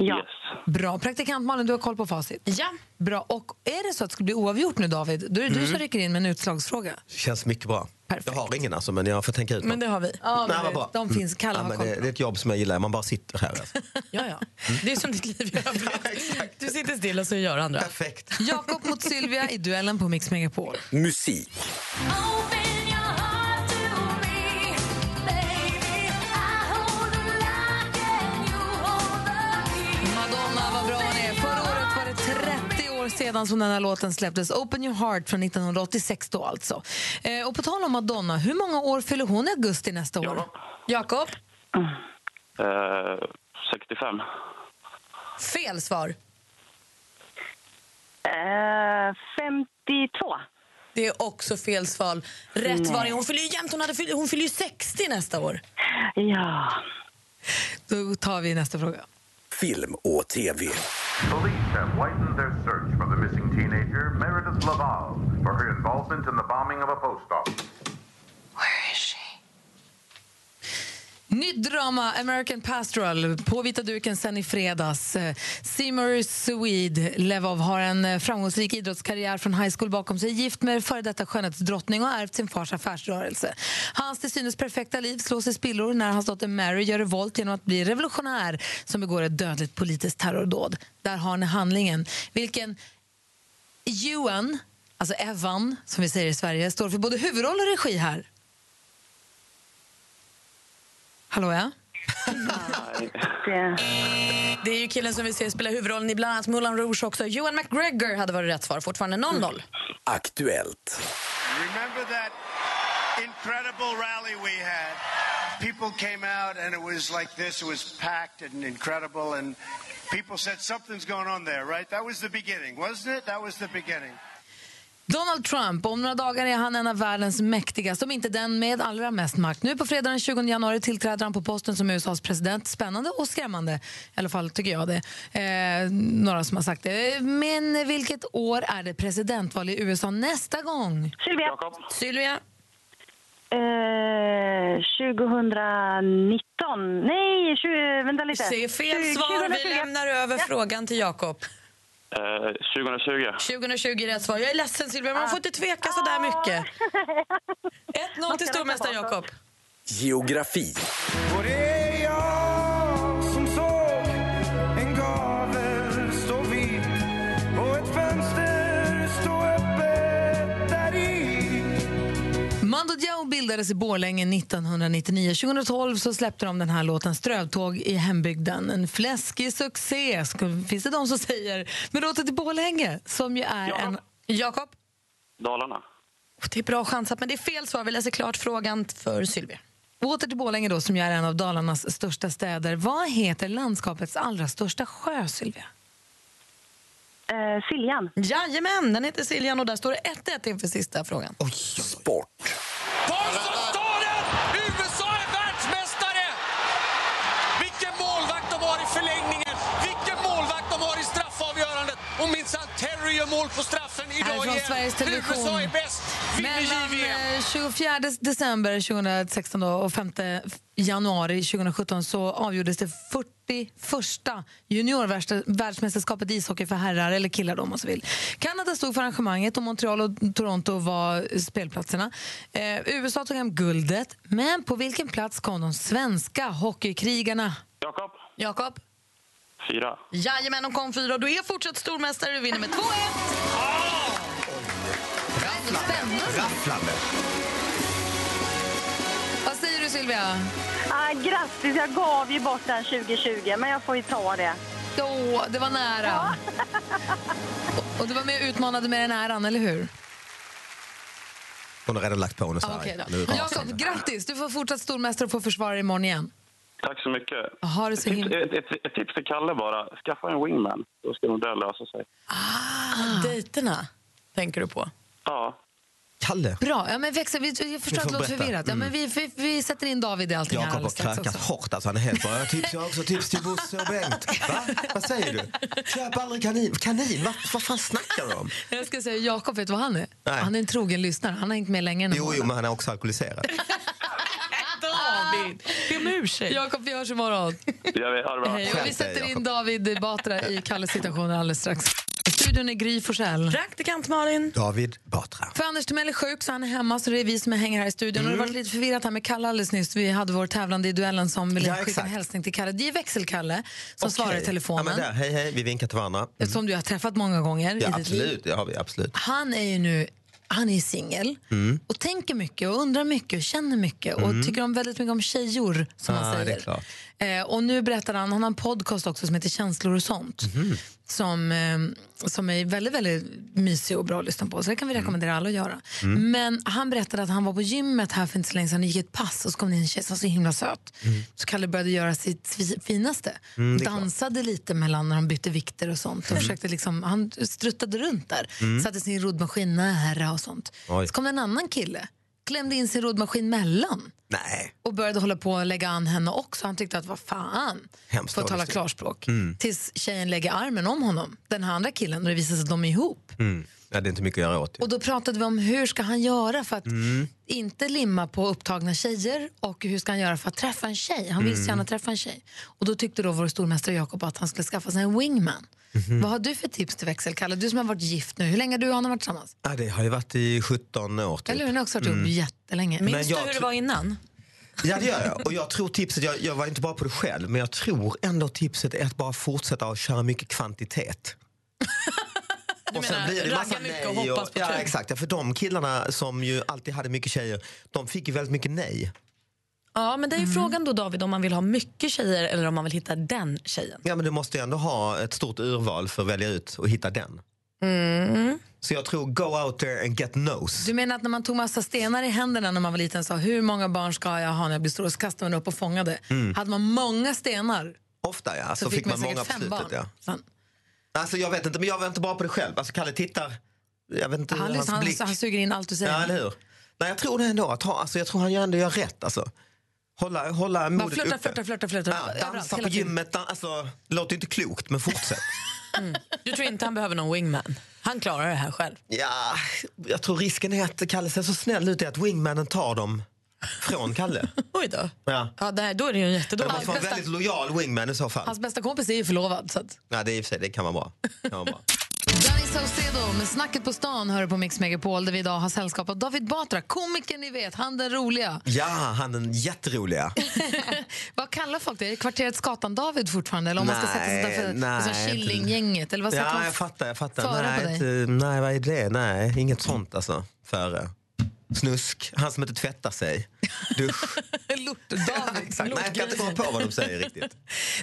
[SPEAKER 8] Ja.
[SPEAKER 9] Yes.
[SPEAKER 3] Bra. Praktikant Malin, du har koll på facit.
[SPEAKER 4] Ja.
[SPEAKER 3] Bra. Och är det så att det skulle bli oavgjort nu David, då är det du
[SPEAKER 10] Mm.
[SPEAKER 3] som rycker in med en utslagsfråga.
[SPEAKER 10] Känns mycket bra.
[SPEAKER 3] Perfekt.
[SPEAKER 10] Jag har ingen alltså, men jag får tänka ut
[SPEAKER 4] Men
[SPEAKER 10] något.
[SPEAKER 4] det har vi.
[SPEAKER 3] Ja, men
[SPEAKER 10] Nej, vad bra.
[SPEAKER 3] de finns. Kalle
[SPEAKER 10] ja,
[SPEAKER 3] har
[SPEAKER 10] men
[SPEAKER 3] koll. (laughs)
[SPEAKER 10] det, det är ett jobb som jag gillar, man bara sitter här. Alltså.
[SPEAKER 4] Ja, ja. (laughs) Det är som ditt liv i övrigt. Du sitter stilla så gör andra.
[SPEAKER 10] Perfekt.
[SPEAKER 3] Jakob mot Sylvia i duellen på Mix Megapol.
[SPEAKER 10] Musik.
[SPEAKER 3] Madonna, vad bra hon är. Förra året var det 30 år sedan som den här låten släpptes. Open your heart från 1986 då alltså. Eh, och på tal om Madonna, hur många år fyller hon i augusti nästa år? Jakob?
[SPEAKER 9] Eh, 65.
[SPEAKER 4] Fel svar.
[SPEAKER 8] Eh, 52.
[SPEAKER 4] Det är också fel svar. Rätt var det. Hon fyller ju jämt. Hon, hade fyll, hon fyller ju 60 nästa år.
[SPEAKER 8] Ja.
[SPEAKER 3] Då tar vi nästa fråga.
[SPEAKER 10] Film och tv.
[SPEAKER 11] Police have widened their search for the missing teenager, Meredith Laval, for her involvement in the bombing of a post office.
[SPEAKER 3] Nytt drama, American Pastoral, på vita duken sen i fredags. Eh, Seymour Swede Levov har en eh, framgångsrik idrottskarriär från high school bakom sig, gift med före detta skönhetsdrottning och har ärvt sin fars affärsrörelse. Hans till synes perfekta liv slås i spillror när hans dotter Mary gör revolt genom att bli revolutionär som begår ett dödligt politiskt terrordåd. Där har ni handlingen. Vilken Ewan, alltså Evan, som vi säger i Sverige, står för både huvudroll och regi här. Hallå, ja?
[SPEAKER 8] Det,
[SPEAKER 4] Det är ju killen som vi ser spela huvudrollen i bland annat Moulin Rouge också. Johan McGregor hade varit rätt svar. Fortfarande 0-0.
[SPEAKER 10] Aktuellt.
[SPEAKER 11] Remember that incredible rally we had? People came out and it was like this. It was packed and incredible, and people said something's going on there, right? That was the beginning, wasn't it? That was the beginning.
[SPEAKER 3] Donald Trump, om några dagar är han en av världens mäktigaste, om inte den med allra mest makt. Nu på fredag den 20 januari tillträder han på posten som USAs president. Spännande och skrämmande, i alla fall tycker jag det. Eh, några som har sagt det. Men vilket år är det presidentval i USA nästa gång?
[SPEAKER 8] Sylvia.
[SPEAKER 9] Jakob?
[SPEAKER 4] Sylvia?
[SPEAKER 8] Eh, 2019. Nej, 20, vänta lite.
[SPEAKER 4] Se fel svar. Vi
[SPEAKER 8] 2020.
[SPEAKER 4] lämnar över frågan till Jakob.
[SPEAKER 9] Eh, 2020.
[SPEAKER 4] 2020 är rätt svar. Jag är ledsen Sylvia, men man får inte tveka så där mycket. 1-0 till stormästare Jakob.
[SPEAKER 10] Geografi.
[SPEAKER 11] det är jag som såg en gavel stå vid
[SPEAKER 3] bildades i Borlänge 1999. 2012 så släppte de den här låten Strövtåg i hembygden. En fläskig succé, sku- finns det de som säger. Men låten till Borlänge, som ju är en... Jakob?
[SPEAKER 9] Dalarna.
[SPEAKER 4] Det är bra chansat, men det är fel svar. Vi läser klart frågan för Sylvia.
[SPEAKER 3] Åter till Borlänge då, som ju är en av Dalarnas största städer. Vad heter landskapets allra största sjö, Sylvia?
[SPEAKER 4] Eh, Siljan. Jajamän, den heter Siljan och där står det 1-1 inför sista frågan.
[SPEAKER 10] Sport.
[SPEAKER 12] USA är världsmästare! Vilken målvakt de har i förlängningen! Vilken målvakt de har i straffavgörandet! Och minsann, Terry gör mål på straffen idag
[SPEAKER 3] Härifrån
[SPEAKER 12] igen!
[SPEAKER 3] Sveriges Television.
[SPEAKER 12] USA är bäst! Vinner JVM!
[SPEAKER 3] Mellan eh, 24 december 2016 då och 5 januari 2017 så avgjordes det 41 juniorvärldsmästerskapet i ishockey för herrar eller killar då, om man så vill. Kanada stod för arrangemanget och Montreal och Toronto var spelplatserna. Eh, USA tog hem guldet, men på vilken plats kom de svenska hockeykrigarna?
[SPEAKER 9] Jakob.
[SPEAKER 4] Jakob?
[SPEAKER 9] Fyra.
[SPEAKER 4] Jajamän, de kom fyra och du är fortsatt stormästare. Du vinner med 2-1.
[SPEAKER 13] Rafflande.
[SPEAKER 3] Vad säger du, Sylvia?
[SPEAKER 14] Ah, grattis, jag gav ju bort den 2020, men jag får ju ta det.
[SPEAKER 3] Då, det var nära. (laughs) Och, och du var med och utmanade med den äran, eller hur?
[SPEAKER 13] Hon har redan lagt på henne så
[SPEAKER 3] Ah,
[SPEAKER 13] här.
[SPEAKER 3] okej då.
[SPEAKER 13] Nu rasar hon.
[SPEAKER 3] Jakob, grattis! Du får fortsatt stormästare och får försvara imorgon igen.
[SPEAKER 9] Tack så mycket.
[SPEAKER 3] Har det så
[SPEAKER 9] ett, tips,
[SPEAKER 3] himla-
[SPEAKER 9] ett, ett, ett tips till Kalle bara. Skaffa en wingman. Då ska nog det lösa sig.
[SPEAKER 4] Ah. Dejterna tänker du på.
[SPEAKER 9] Ja.
[SPEAKER 13] Kalle.
[SPEAKER 3] Bra. Ja, men växel, vi, jag förstår
[SPEAKER 13] Vi
[SPEAKER 3] att
[SPEAKER 13] får
[SPEAKER 3] det låter
[SPEAKER 13] berätta.
[SPEAKER 3] förvirrat. Ja, men vi, vi, vi sätter in David i allting här
[SPEAKER 13] Jakob har
[SPEAKER 3] alldeles strax
[SPEAKER 13] krökat
[SPEAKER 3] också.
[SPEAKER 13] hårt. Alltså, han är helt bara, jag har tips, jag har också tips till Bosse och Bengt. Va? Vad säger du? Köp aldrig kanin. Kanin? Vad, vad fan snackar du om?
[SPEAKER 3] Jag ska säga Jakob, vet du vad han är?
[SPEAKER 13] Nej.
[SPEAKER 3] Han är en trogen lyssnare. Han har hängt med längre än en
[SPEAKER 13] Jo, jo,
[SPEAKER 3] månad.
[SPEAKER 13] men han är också alkoholiserad.
[SPEAKER 4] David, Ah. be om ursäkt.
[SPEAKER 3] Jakob, vi hörs imorgon.
[SPEAKER 9] Jag vet, ha det bra.
[SPEAKER 3] Hej, och vi sätter in David Batra i Kalles situation alldeles strax. Studion är Gry Forssell.
[SPEAKER 4] Praktikant Malin.
[SPEAKER 13] David Batra.
[SPEAKER 3] För Anders Timell är sjuk så han är hemma så det är vi som hänger här i studion. Och det har
[SPEAKER 13] Mm.
[SPEAKER 3] varit lite förvirrat här med Kalle alldeles nyss. Vi hade vår tävlande i duellen som ville
[SPEAKER 13] Ja,
[SPEAKER 3] skicka en
[SPEAKER 13] exakt.
[SPEAKER 3] hälsning till Kalle. Det är växelkalle som svarar i
[SPEAKER 13] Okej.
[SPEAKER 3] telefonen.
[SPEAKER 13] Ja, men där. Hej, hej. Vi vinkar till varandra. Mm.
[SPEAKER 3] Som du har träffat många gånger i
[SPEAKER 13] Ja,
[SPEAKER 3] ditt liv.
[SPEAKER 13] absolut. Det har vi. Absolut.
[SPEAKER 3] Han är ju nu han är singel
[SPEAKER 13] Mm.
[SPEAKER 3] och tänker mycket och undrar mycket och känner mycket och
[SPEAKER 13] Mm.
[SPEAKER 3] tycker om väldigt mycket om tjejor som
[SPEAKER 13] Ah,
[SPEAKER 3] han
[SPEAKER 13] det
[SPEAKER 3] säger.
[SPEAKER 13] är klart.
[SPEAKER 3] Eh, och nu berättar han, han har en podcast också som heter Känslor och sånt.
[SPEAKER 12] Mhm.
[SPEAKER 3] Som, eh, som är väldigt, väldigt mysig och bra att lyssna på. Så det kan vi rekommendera alla att göra.
[SPEAKER 12] Mm.
[SPEAKER 3] Men han berättade att han var på gymmet här för inte så länge sedan och gick ett pass och så kom det in en tjej som var så himla söt. Mm. Så Kalle började göra sitt fi- finaste.
[SPEAKER 12] Mm, det är klart.
[SPEAKER 3] Dansade lite mellan när de bytte vikter och sånt. Och försökte liksom, han struttade runt där.
[SPEAKER 12] Mm.
[SPEAKER 3] Satte sin roddmaskin nära och sånt.
[SPEAKER 12] Oj.
[SPEAKER 3] Så kom det en annan kille. Klämde in sin roddmaskin mellan.
[SPEAKER 13] Nej.
[SPEAKER 3] Och började hålla på att lägga an henne också. Han tyckte att vad fan.
[SPEAKER 13] Hemskt
[SPEAKER 3] För att tala
[SPEAKER 13] dålig stil.
[SPEAKER 3] klarspråk.
[SPEAKER 13] Mm.
[SPEAKER 3] Tills tjejen lägger armen om honom. Den här andra killen. Och det visar sig att de är ihop.
[SPEAKER 13] Mm. Ja, det är inte mycket att göra åt.
[SPEAKER 3] Och då pratade vi om hur ska han göra för att
[SPEAKER 13] Mm.
[SPEAKER 3] inte limma på upptagna tjejer och hur ska han göra för att träffa en tjej? Han vill så
[SPEAKER 13] Mm.
[SPEAKER 3] gärna träffa en tjej. Och då tyckte då vår stormästare Jakob att han skulle skaffa sig en wingman.
[SPEAKER 13] Mhm.
[SPEAKER 3] Vad har du för tips till växelkalle? Du som har varit gift nu, hur länge har du och han varit tillsammans?
[SPEAKER 13] Ja, det har ju varit i 17 år. Typ.
[SPEAKER 3] Eller hur? Ni har också varit ihop
[SPEAKER 13] Mm.
[SPEAKER 3] jättelänge.
[SPEAKER 13] Minns Men du jag hur det tr- var
[SPEAKER 4] innan?
[SPEAKER 13] Ja, det gör jag. Och jag tror tipset, jag, jag var inte bra på det själv, men jag tror ändå tipset är att bara fortsätta att köra mycket kvantitet.
[SPEAKER 4] Du menar,
[SPEAKER 13] blir det massa
[SPEAKER 4] ragga mycket och
[SPEAKER 13] nej
[SPEAKER 4] hoppas på
[SPEAKER 13] ja,
[SPEAKER 4] tur.
[SPEAKER 13] exakt. Ja, för de killarna som ju alltid hade mycket tjejer, de fick ju väldigt mycket nej.
[SPEAKER 4] Ja, men det är ju frågan då David om man vill ha mycket tjejer eller om man vill hitta den tjejen.
[SPEAKER 13] Ja, men du måste ju ändå ha ett stort urval för att välja ut och hitta den.
[SPEAKER 4] Mm.
[SPEAKER 13] Så jag tror go out there and get nose.
[SPEAKER 3] Du menar att när man tog massa stenar i händerna när man var liten sa hur många barn ska jag ha när jag blir stor? Och så kastade man upp och fångade.
[SPEAKER 13] Mm.
[SPEAKER 3] Hade man många stenar
[SPEAKER 13] Ofta ja, så, fick man, många på
[SPEAKER 3] säkert fem
[SPEAKER 13] slutet.
[SPEAKER 3] barn.
[SPEAKER 13] Ja.
[SPEAKER 3] Sen-
[SPEAKER 13] Alltså, jag vet inte, men jag var inte bra på det själv. Alltså, Kalle tittar, jag vet inte
[SPEAKER 3] Han,
[SPEAKER 13] hans
[SPEAKER 3] lyssnar, han,
[SPEAKER 13] blick.
[SPEAKER 3] han suger in allt du säger.
[SPEAKER 13] Ja, eller hur? Nej, jag tror det ändå. Att ha, alltså, jag tror han gör ändå gör rätt. Alltså. Hålla, hålla
[SPEAKER 3] Bara
[SPEAKER 13] modet
[SPEAKER 3] flörta,
[SPEAKER 13] uppe.
[SPEAKER 3] flörta, flörta, flörta.
[SPEAKER 13] Ja,
[SPEAKER 3] överallt,
[SPEAKER 13] dansa
[SPEAKER 3] hela
[SPEAKER 13] på
[SPEAKER 3] tiden.
[SPEAKER 13] gymmet. dan- Alltså, det låter ju inte klokt,
[SPEAKER 3] (laughs)
[SPEAKER 13] men fortsätt.
[SPEAKER 4] Du tror inte han behöver någon wingman? Han klarar det här själv.
[SPEAKER 13] ja, jag tror risken är att Kalle ser så snäll ut i att wingmanen tar dem
[SPEAKER 3] (laughs)
[SPEAKER 13] från Kalle.
[SPEAKER 4] Oj då.
[SPEAKER 13] Ja.
[SPEAKER 4] Ja, det här, då är det ju en
[SPEAKER 13] Det
[SPEAKER 4] jättedålig
[SPEAKER 13] måste vara en väldigt lojal wingman i så fall.
[SPEAKER 3] Hans bästa kompis är ju förlovad. Så att.
[SPEAKER 13] Nej, det, är i och för sig, det kan vara bra. Det Kan vara bra.
[SPEAKER 3] Danny Saucedo med Snacket på stan hör du på Mix Megapol där vi idag har sällskap av David Batra, komikern ni vet, han den roliga.
[SPEAKER 13] Ja, han är jätteroliga.
[SPEAKER 3] Vad kallar folk det? Är det kvarteret Skatan-David fortfarande? Eller om man ska sätta sig
[SPEAKER 13] Nej,
[SPEAKER 3] utanför
[SPEAKER 13] nej.
[SPEAKER 3] alltså, Killinggänget? Eller vad sätter (laughs)
[SPEAKER 13] Ja,
[SPEAKER 3] man
[SPEAKER 13] jag fattar. Jag fattar.
[SPEAKER 3] före på
[SPEAKER 13] Nej,
[SPEAKER 3] dig?
[SPEAKER 13] inte- nej, vad är det? Nej, inget sånt alltså. Före. Snusk, han som inte tvättar sig. Dusch.
[SPEAKER 3] Lort-David.
[SPEAKER 13] (laughs) Exakt. Nej, jag kan inte komma på vad
[SPEAKER 3] (laughs)
[SPEAKER 13] de säger riktigt.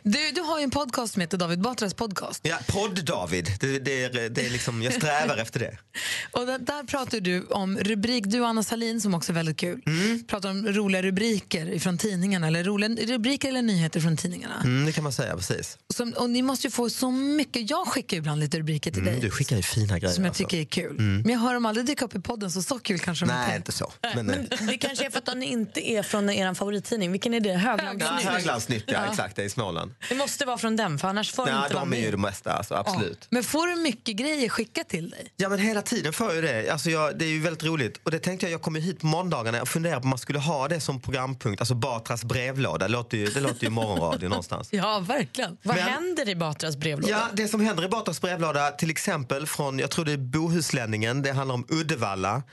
[SPEAKER 3] Du, du har ju en podcast som heter David Batras podcast.
[SPEAKER 13] Ja, Podd-David. Det, det, är- det är liksom, jag strävar efter det.
[SPEAKER 3] (laughs) Och där, där pratar du om rubrik, du och Anna Salin som också är väldigt kul.
[SPEAKER 13] Mm.
[SPEAKER 3] Pratar om roliga rubriker från tidningarna, eller roliga rubriker eller nyheter från tidningarna.
[SPEAKER 13] Mm, det kan man säga, precis.
[SPEAKER 3] Som, och ni måste ju få så mycket, jag skickar ju ibland lite rubriker till
[SPEAKER 13] Mm,
[SPEAKER 3] dig.
[SPEAKER 13] du skickar ju fina grejer.
[SPEAKER 3] Som jag
[SPEAKER 13] alltså.
[SPEAKER 3] tycker är kul.
[SPEAKER 13] Mm.
[SPEAKER 3] Men jag hör dem aldrig dyka upp i podden, så så kul kanske de inte
[SPEAKER 13] Nej,
[SPEAKER 3] är.
[SPEAKER 13] inte så.
[SPEAKER 3] (laughs)
[SPEAKER 4] Nej,
[SPEAKER 13] Men, eh,
[SPEAKER 4] men det kanske är för att den inte är från er favorittidning. Vilken är det?
[SPEAKER 13] Ja,
[SPEAKER 4] Höglandsnytt?
[SPEAKER 13] Höglandsnytt, ja,
[SPEAKER 4] Ja.
[SPEAKER 13] exakt. Det är i Småland.
[SPEAKER 4] Det måste vara från den, för annars får den
[SPEAKER 13] Ja,
[SPEAKER 4] inte vara
[SPEAKER 13] de är
[SPEAKER 4] med.
[SPEAKER 13] ju de bästa, alltså, absolut.
[SPEAKER 3] Men får du mycket grejer skickat till dig?
[SPEAKER 13] Ja men hela tiden får jag ju det. Alltså jag, det är ju väldigt roligt. Och det tänkte jag, jag kommer hit på måndagarna och funderar på om man skulle ha det som programpunkt. Alltså Batras brevlåda, det låter ju, det låter ju morgonradio (laughs) någonstans.
[SPEAKER 3] Ja, verkligen.
[SPEAKER 4] Vad
[SPEAKER 13] Men-
[SPEAKER 4] händer i Batras brevlåda?
[SPEAKER 13] Ja, det som händer i Batras brevlåda, till exempel från, jag tror det är Bohuslänningen, det handlar om Uddevalla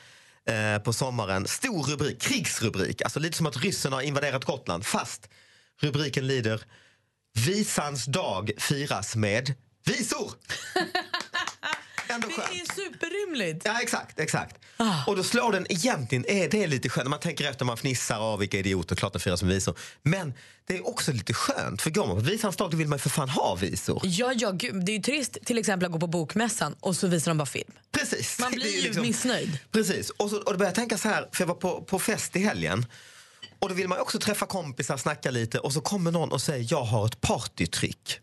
[SPEAKER 13] eh, på sommaren. Stor rubrik, krigsrubrik. Alltså lite som att ryssen har invaderat Gotland. Fast rubriken lyder Visans dag firas med visor. Ändå skönt.
[SPEAKER 4] Det är superrymligt.
[SPEAKER 13] Ja, exakt. exakt.
[SPEAKER 4] Ah.
[SPEAKER 13] Och då slår den egentligen, är det är lite skönt. Man tänker efter, man fnissar av vilka idioter, klart den firar som visor. Men det är också lite skönt, för går man på visans dag då vill man ju för fan ha visor.
[SPEAKER 4] Ja, ja, gud. Det är ju trist till exempel att gå på bokmässan och så visar de bara film.
[SPEAKER 13] Precis.
[SPEAKER 4] Man
[SPEAKER 13] Det är
[SPEAKER 4] blir ju
[SPEAKER 13] liksom-
[SPEAKER 4] missnöjd.
[SPEAKER 13] Precis. Och, så, och då började jag tänka så här, för jag var på, på fest i helgen. Och då vill man ju också träffa kompisar, snacka lite och så kommer någon och säger jag har
[SPEAKER 4] (laughs)
[SPEAKER 13] ett partytrick.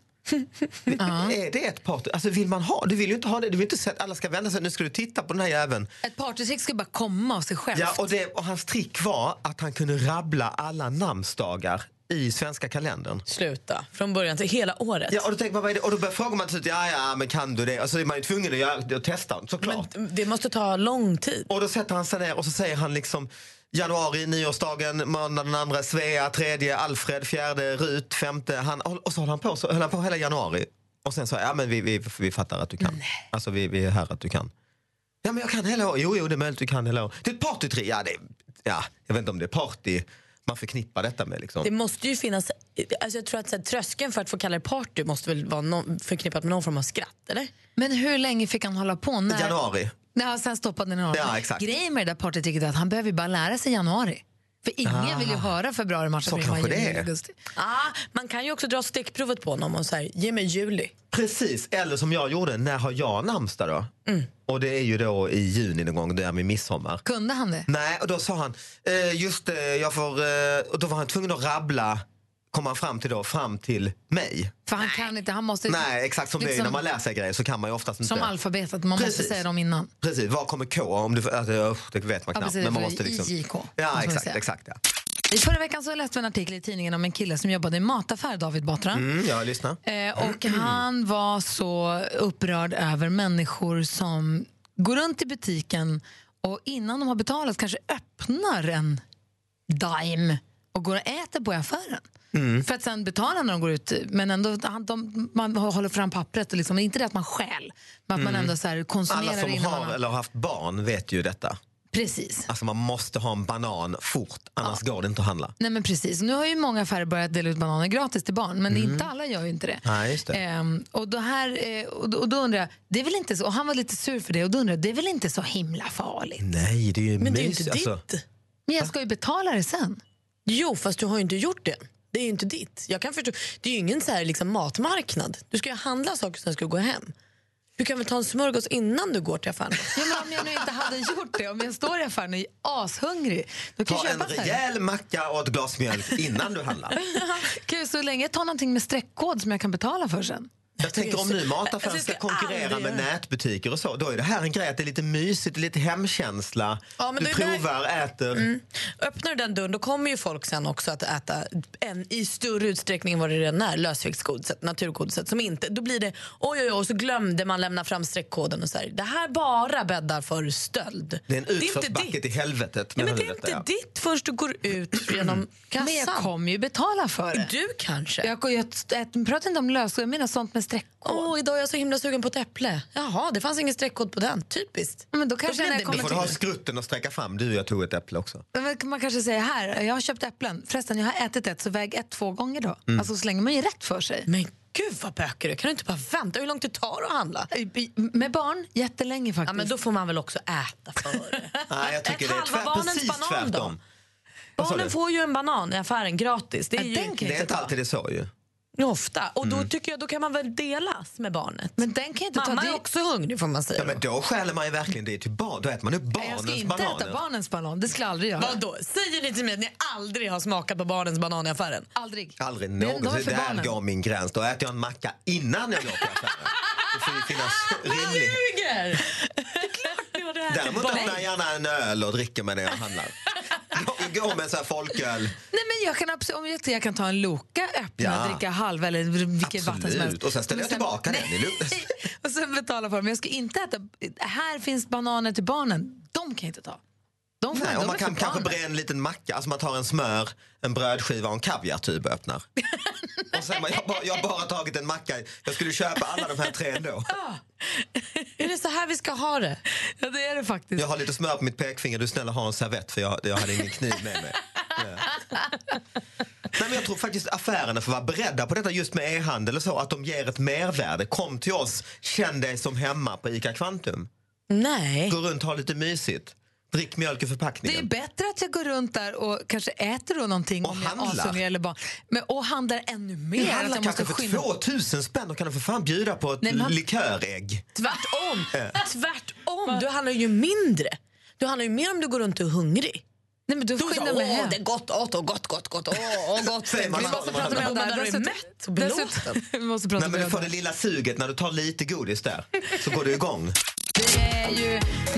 [SPEAKER 13] Är det ett party? Alltså vill man ha? Du vill ju inte ha det. Du vill inte se att alla ska vända sig. Nu ska du titta på den här jäveln.
[SPEAKER 3] Ett partytrick ska bara komma av sig självt.
[SPEAKER 13] Ja, och, det, och hans trick var att han kunde rabbla alla namnsdagar i svenska kalendern.
[SPEAKER 4] Sluta. Från början till hela året.
[SPEAKER 13] Ja, och då tänker man, vad är det? Och då börjar- frågar man till slut, ja, ja, men kan du det? Och så är man ju tvungen att göra det och testa, såklart.
[SPEAKER 4] Det måste ta lång tid.
[SPEAKER 13] Och då sätter han sig ner och så säger han liksom januari, nyårsdagen, måndag den andra, Svea, tredje, Alfred, fjärde, Rut, femte. Han, och så höll han på, så höll han på hela januari. Och sen sa jag, ja men vi, vi, vi fattar att du kan. Alltså vi, vi är här att du kan. Ja men jag kan hela året. Jo, jo det är möjligt du kan hela året. Det är ett partytrick. Ja, det, ja, jag vet inte om det är party man förknippar detta med liksom.
[SPEAKER 4] Det måste ju finnas... Alltså jag tror att så här, tröskeln för att få kalla det party måste väl vara någon, förknippat med någon form av skratt, eller?
[SPEAKER 3] Men hur länge fick han hålla på? När...
[SPEAKER 13] Januari.
[SPEAKER 3] Ja, sen stoppade den i
[SPEAKER 13] Ja, exakt.
[SPEAKER 3] Grejen med det där partytricket är att han behöver ju bara lära sig januari. För ingen
[SPEAKER 4] Ah.
[SPEAKER 3] vill ju höra februari, mars,
[SPEAKER 4] Så
[SPEAKER 3] april,
[SPEAKER 4] kanske
[SPEAKER 3] maj,
[SPEAKER 4] det är.
[SPEAKER 3] augusti.
[SPEAKER 4] Ah, man kan ju också dra stickprovet på honom och säga ge mig juli.
[SPEAKER 13] Precis, eller som jag gjorde, när har jag namnsdag då? Och det är ju då i juni någon gång, det är med midsommar.
[SPEAKER 3] Kunde han det?
[SPEAKER 13] Nej, och då sa han, eh, just det, jag får... Eh, och då var han tvungen att rabbla, kom han fram till då, fram till mig.
[SPEAKER 3] För han kan inte, han måste...
[SPEAKER 13] Nej, exakt som det är ju när man läser grejer så kan man ju oftast inte...
[SPEAKER 3] Som alfabetet, man måste
[SPEAKER 13] Precis.
[SPEAKER 3] säga dem innan.
[SPEAKER 13] Precis, var kommer K? Om du, alltså, usch, det vet man
[SPEAKER 3] Ja,
[SPEAKER 13] knappt.
[SPEAKER 3] precis,
[SPEAKER 13] men man
[SPEAKER 3] för
[SPEAKER 13] måste liksom...
[SPEAKER 3] IJK, måste
[SPEAKER 13] Ja,
[SPEAKER 3] man
[SPEAKER 13] exakt,
[SPEAKER 3] säga.
[SPEAKER 13] exakt. Ja.
[SPEAKER 3] I förra veckan så läste vi en artikel i tidningen om en kille som jobbade i mataffär, David Batra.
[SPEAKER 13] Mm, jag lyssnar.
[SPEAKER 3] Eh, och han var så upprörd över människor som går runt i butiken och innan de har betalat kanske öppnar en dime och går och äter på i affären.
[SPEAKER 13] Mm.
[SPEAKER 3] För att sen betala när de går ut. Men ändå, han- de, man håller fram pappret. Och liksom, det är inte det att man stjäl, men att man
[SPEAKER 13] Mm.
[SPEAKER 3] ändå så här konsumerar
[SPEAKER 13] Alla som
[SPEAKER 3] innan
[SPEAKER 13] har
[SPEAKER 3] man...
[SPEAKER 13] eller har haft barn vet ju detta.
[SPEAKER 3] Precis.
[SPEAKER 13] Alltså man måste ha en banan fort, annars går det inte att handla.
[SPEAKER 3] Nej men precis. Nu har ju många affärer börjat dela ut bananer gratis till barn, men
[SPEAKER 13] Mm.
[SPEAKER 3] inte alla gör ju inte det.
[SPEAKER 13] Nej, just det.
[SPEAKER 3] Ehm, och, då här, eh, och, då, och då undrar jag, det är väl inte så, och han var lite sur för det, och då undrar jag, det är väl inte så himla farligt?
[SPEAKER 13] Nej, det är ju
[SPEAKER 4] Men det är ju
[SPEAKER 13] mys-
[SPEAKER 4] inte
[SPEAKER 13] alltså.
[SPEAKER 4] ditt.
[SPEAKER 3] Men jag ska ju betala det sen.
[SPEAKER 4] Jo, fast du har ju inte gjort det. Det är ju inte ditt. Jag kan förstå. Det är ju ingen så här liksom matmarknad. Du ska ju handla saker och sen ska du gå hem. Du kan väl ta en smörgås innan du går till affären?
[SPEAKER 3] Ja, men om jag nu inte hade gjort det, om jag står i affären och är ashungrig, då kan
[SPEAKER 13] Ta
[SPEAKER 3] jag
[SPEAKER 13] en
[SPEAKER 3] köpa så här.
[SPEAKER 13] rejäl macka och ett glas mjölk innan du handlar.
[SPEAKER 3] Kan jag så länge jag tar någonting med streckkod som jag kan betala för sen.
[SPEAKER 13] Jag tänker om nu mataffären
[SPEAKER 3] Alltså,
[SPEAKER 13] ska
[SPEAKER 3] jag ska
[SPEAKER 13] konkurrera
[SPEAKER 3] aldrig
[SPEAKER 13] med
[SPEAKER 3] göra det.
[SPEAKER 13] nätbutiker och så, då är det här en grej att det är lite mysigt, lite hemkänsla.
[SPEAKER 4] Ja, men
[SPEAKER 13] du
[SPEAKER 4] det där-
[SPEAKER 13] provar, äter.
[SPEAKER 4] Mm. (laughs) Öppnar du den dörren då kommer ju folk sen också att äta en, i större utsträckning än vad det redan är lösviktsgodiset, naturgodiset. Som inte, då blir det oj, oj, oj och så glömde man lämna fram streckkoden. Och så här. Det här bara bäddar för stöld.
[SPEAKER 13] Det är en
[SPEAKER 4] inte
[SPEAKER 13] utförsbacke till helvetet.
[SPEAKER 4] Ja, men det är
[SPEAKER 13] menar du
[SPEAKER 4] inte
[SPEAKER 13] detta, ja.
[SPEAKER 4] ditt först du går ut
[SPEAKER 13] (clears throat)
[SPEAKER 4] genom kassan.
[SPEAKER 3] Men jag kommer ju betala för det.
[SPEAKER 4] Du kanske.
[SPEAKER 3] Jag, jag, jag, jag pratar inte om lösgod, jag menar sånt med streckkod.
[SPEAKER 4] Åh, idag är jag så himla sugen på ett äpple. Jaha, det fanns ingen streckkod på den. Typiskt.
[SPEAKER 3] Men då kanske
[SPEAKER 4] blev
[SPEAKER 3] när
[SPEAKER 4] det
[SPEAKER 3] jag
[SPEAKER 13] Då
[SPEAKER 3] kommer
[SPEAKER 13] får du ha skrutten och sträcka fram. Du, jag tog ett äpple också.
[SPEAKER 3] Men väl kan Man kanske säger här, jag har köpt äpplen. Förresten, jag har ätit ett, så väg ett två gånger då.
[SPEAKER 13] Mm.
[SPEAKER 3] Alltså så länge man ju rätt för sig.
[SPEAKER 4] Men gud vad böcker du Kan du inte bara vänta? Hur långt det tar att handla?
[SPEAKER 3] Med barn? Jättelänge faktiskt.
[SPEAKER 4] Ja, men då får man väl också äta för
[SPEAKER 13] (laughs) Nej, jag tycker det är
[SPEAKER 4] halva
[SPEAKER 13] tvär,
[SPEAKER 4] barnens
[SPEAKER 13] precis
[SPEAKER 4] banan då?
[SPEAKER 13] tvärtom. Vad sa
[SPEAKER 4] Barnen
[SPEAKER 13] du?
[SPEAKER 4] får ju en banan i affären gratis. Det är, ju
[SPEAKER 13] det är inte alltid det är så ju.
[SPEAKER 4] Ofta. Och då
[SPEAKER 13] Mm.
[SPEAKER 4] tycker jag då kan man väl delas med barnet.
[SPEAKER 3] Men den kan inte
[SPEAKER 4] Mamma
[SPEAKER 3] ta
[SPEAKER 4] är
[SPEAKER 3] det-
[SPEAKER 4] också hungrig får man säga.
[SPEAKER 13] Ja, men då stjäl man ju verkligen det till barn. Då äter man upp
[SPEAKER 3] Nej, jag ska
[SPEAKER 13] barnens
[SPEAKER 3] inte äta
[SPEAKER 13] bananer.
[SPEAKER 3] barnens banan. Det skulle jag aldrig göra.
[SPEAKER 4] Vadå? Säger ni till mig att ni aldrig har smakat på barnens banan i affären?
[SPEAKER 3] Aldrig.
[SPEAKER 13] Aldrig
[SPEAKER 3] de är
[SPEAKER 13] någonsin.
[SPEAKER 3] för
[SPEAKER 13] Där
[SPEAKER 3] barnen.
[SPEAKER 13] går min gräns. Då äter jag en macka innan jag går till affären. Det får ju
[SPEAKER 4] (laughs)
[SPEAKER 13] finnas rimlig... (laughs)
[SPEAKER 4] ljuger! Det är klart ni har det här till
[SPEAKER 13] Däremot öppnar jag
[SPEAKER 4] barn.
[SPEAKER 13] gärna en öl och dricker med det jag handlar. Jag går med en sån här folköl.
[SPEAKER 3] Nej, men jag kan, abs- om jag, jag kan ta en Loka, öppna,
[SPEAKER 13] Ja.
[SPEAKER 3] dricka halva eller vilket vatten som helst.
[SPEAKER 13] Absolut. Och sen ställer jag
[SPEAKER 3] Men
[SPEAKER 13] tillbaka den i lugn.
[SPEAKER 3] (laughs) Och sen betala för dem. Jag ska inte äta... Här finns bananer till barnen. De kan jag inte ta. De får
[SPEAKER 13] Nej, och
[SPEAKER 3] de
[SPEAKER 13] man
[SPEAKER 3] är
[SPEAKER 13] kan
[SPEAKER 3] för
[SPEAKER 13] kanske
[SPEAKER 3] barnen.
[SPEAKER 13] bränna en liten macka. Alltså man tar en smör, en brödskiva och en kaviartub
[SPEAKER 3] (laughs)
[SPEAKER 13] och öppnar. och sen, man- jag, har bara, jag har bara tagit en macka. Jag skulle köpa alla de här tre ändå.
[SPEAKER 4] Är det så här vi ska ha det?
[SPEAKER 3] Ja, det är det faktiskt.
[SPEAKER 13] Jag har lite smör på mitt pekfinger. Du snälla ha en servett för jag, jag hade ingen kniv med mig. Ja. Nej, men jag tror faktiskt affärerna får vara beredda på detta just med e-handel och så. Att de ger ett mervärde. Kom till oss, känn dig som hemma på ICA Kvantum.
[SPEAKER 4] Nej.
[SPEAKER 13] Gå runt, ha lite mysigt. Drick mjölk
[SPEAKER 3] Det
[SPEAKER 13] i
[SPEAKER 3] är
[SPEAKER 13] förpackningen.
[SPEAKER 3] bättre att jag går runt där och kanske äter då någonting och om jag är
[SPEAKER 13] handlar.
[SPEAKER 3] ashungrig eller barn. Men, och handlar ännu mer.
[SPEAKER 13] Du
[SPEAKER 3] att
[SPEAKER 13] handlar
[SPEAKER 3] jag måste
[SPEAKER 13] kanske för
[SPEAKER 3] skynda-
[SPEAKER 13] 2000 spänn och kan du för fan bjuda på ett
[SPEAKER 3] Nej, men han-
[SPEAKER 13] likörägg.
[SPEAKER 4] Tvärtom!
[SPEAKER 13] Ja.
[SPEAKER 4] Tvärtom! Du handlar ju mindre. Du handlar ju mer om du går runt och är hungrig.
[SPEAKER 3] Nej, men du
[SPEAKER 4] då
[SPEAKER 3] skyndar mig hem.
[SPEAKER 4] det är gott, åt och gott, gott, gott, åh, åh, gott.
[SPEAKER 13] Säger man
[SPEAKER 4] Vi
[SPEAKER 13] så
[SPEAKER 4] måste
[SPEAKER 13] när man
[SPEAKER 4] prata med
[SPEAKER 13] handlar.
[SPEAKER 4] om det där och är
[SPEAKER 3] Dessutom-
[SPEAKER 4] mätt och belåten. (laughs)
[SPEAKER 3] dessutom- Vi måste prata
[SPEAKER 13] Nej, men
[SPEAKER 3] med
[SPEAKER 13] du får
[SPEAKER 3] varandra.
[SPEAKER 13] det lilla suget när du tar lite godis där. Så går du
[SPEAKER 3] (laughs)
[SPEAKER 13] igång.
[SPEAKER 3] Det är ju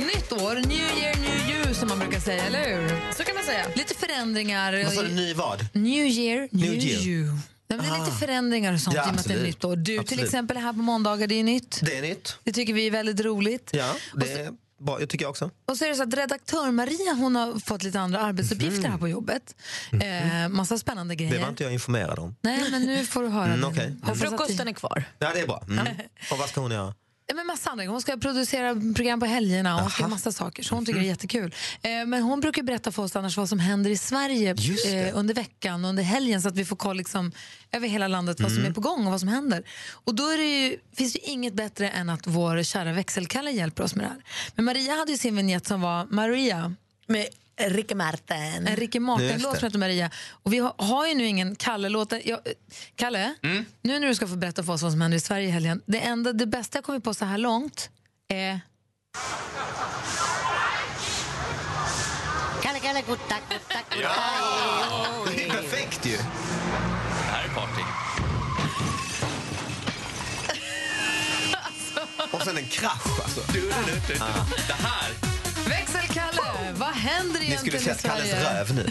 [SPEAKER 3] nytt år, new year, new you som man brukar säga, eller hur?
[SPEAKER 4] Så kan man säga.
[SPEAKER 3] Lite förändringar.
[SPEAKER 13] Vad sa du, ny vad?
[SPEAKER 3] New year, new,
[SPEAKER 13] New year.
[SPEAKER 3] you. Nej, men det är
[SPEAKER 13] Ah.
[SPEAKER 3] lite förändringar och sånt
[SPEAKER 13] Ja,
[SPEAKER 3] i och med att det är
[SPEAKER 13] absolut.
[SPEAKER 3] nytt år. Du till
[SPEAKER 13] Absolut.
[SPEAKER 3] exempel är här på måndagar, det är nytt.
[SPEAKER 13] Det är nytt.
[SPEAKER 3] Det tycker vi är väldigt roligt.
[SPEAKER 13] Ja, det är bra. Jag tycker jag också.
[SPEAKER 3] Och så är det så att redaktör Maria hon har fått lite andra arbetsuppgifter här på jobbet. Eh, massa spännande grejer.
[SPEAKER 13] Mhm. Det var inte jag informerad om.
[SPEAKER 3] Nej, men nu får du höra
[SPEAKER 13] Mm,
[SPEAKER 3] det.
[SPEAKER 13] okej.
[SPEAKER 3] Hoppas att
[SPEAKER 4] Frukosten är kvar.
[SPEAKER 13] Ja, det är bra. Mm. Och vad ska hon göra?
[SPEAKER 3] Ja, Men massa andra. Hon ska producera program på helgerna och hon ska göra massa saker. Så hon
[SPEAKER 13] Mm-hmm.
[SPEAKER 3] tycker det är jättekul. Eh, men hon brukar berätta för oss annars vad som händer i Sverige
[SPEAKER 13] Just det.
[SPEAKER 3] eh, under veckan och under helgen så att vi får koll liksom, över hela landet vad som
[SPEAKER 13] Mm.
[SPEAKER 3] är på gång och vad som händer. Och då är det ju, finns det ju inget bättre än att vår kära växelkalle hjälper oss med det här. Men Maria hade ju sin vignett som var Maria.
[SPEAKER 4] Med Ricky Martin.
[SPEAKER 3] En Ricky
[SPEAKER 13] Just
[SPEAKER 3] Martin-låt
[SPEAKER 13] det.
[SPEAKER 3] som heter Maria. Och vi har, har ju nu ingen Kalle-låt. Jag, Kalle,
[SPEAKER 13] Mm.
[SPEAKER 3] nu när du ska få berätta för oss vad som händer i Sverige i helgen. Det, enda, det bästa jag kommit på så här långt är...
[SPEAKER 15] Kalle, Kalle, gutta, gutta, gutta.
[SPEAKER 13] Det är perfekt ju.
[SPEAKER 7] Det här är party.
[SPEAKER 13] Och sen en krasch alltså. Ah.
[SPEAKER 7] Det här,
[SPEAKER 3] Växelkalle, vad händer
[SPEAKER 13] Ni skulle
[SPEAKER 3] egentligen i
[SPEAKER 13] sett Kalles
[SPEAKER 3] Sverige?
[SPEAKER 13] röv nu.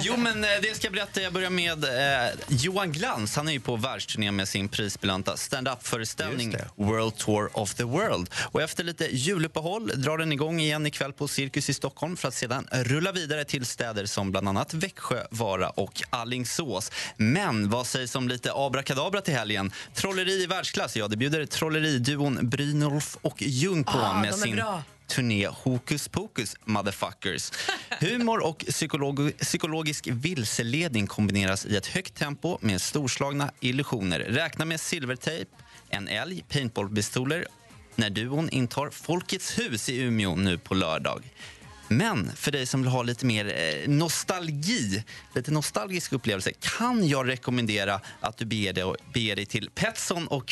[SPEAKER 7] Jo, men eh, det ska jag berätta. Jag börjar med eh, Johan Glans. Han är ju på världsturné med sin prisbelönta stand-up-föreställning World Tour of the World. Och efter lite juluppehåll drar den igång igen ikväll på Cirkus i Stockholm för att sedan rulla vidare till städer som bland annat Växjö, Vara och Allingsås. Men vad sägs om lite abrakadabra till helgen? Trolleri i världsklass, ja, det bjuder trolleriduon Brynolf och Ljung på
[SPEAKER 4] Ah,
[SPEAKER 7] med
[SPEAKER 4] de är
[SPEAKER 7] sin
[SPEAKER 4] bra.
[SPEAKER 7] turné Hokus pokus motherfuckers. Humor och psykolog psykologisk vilseledning kombineras i ett högt tempo med storslagna illusioner. Räkna med silvertejp, en älg, paintballpistoler när duon intar Folkets hus i Umeå nu på lördag. Men för dig som vill ha lite mer eh, nostalgi, lite nostalgisk upplevelse kan jag rekommendera att du beger dig, beger dig till Petsson och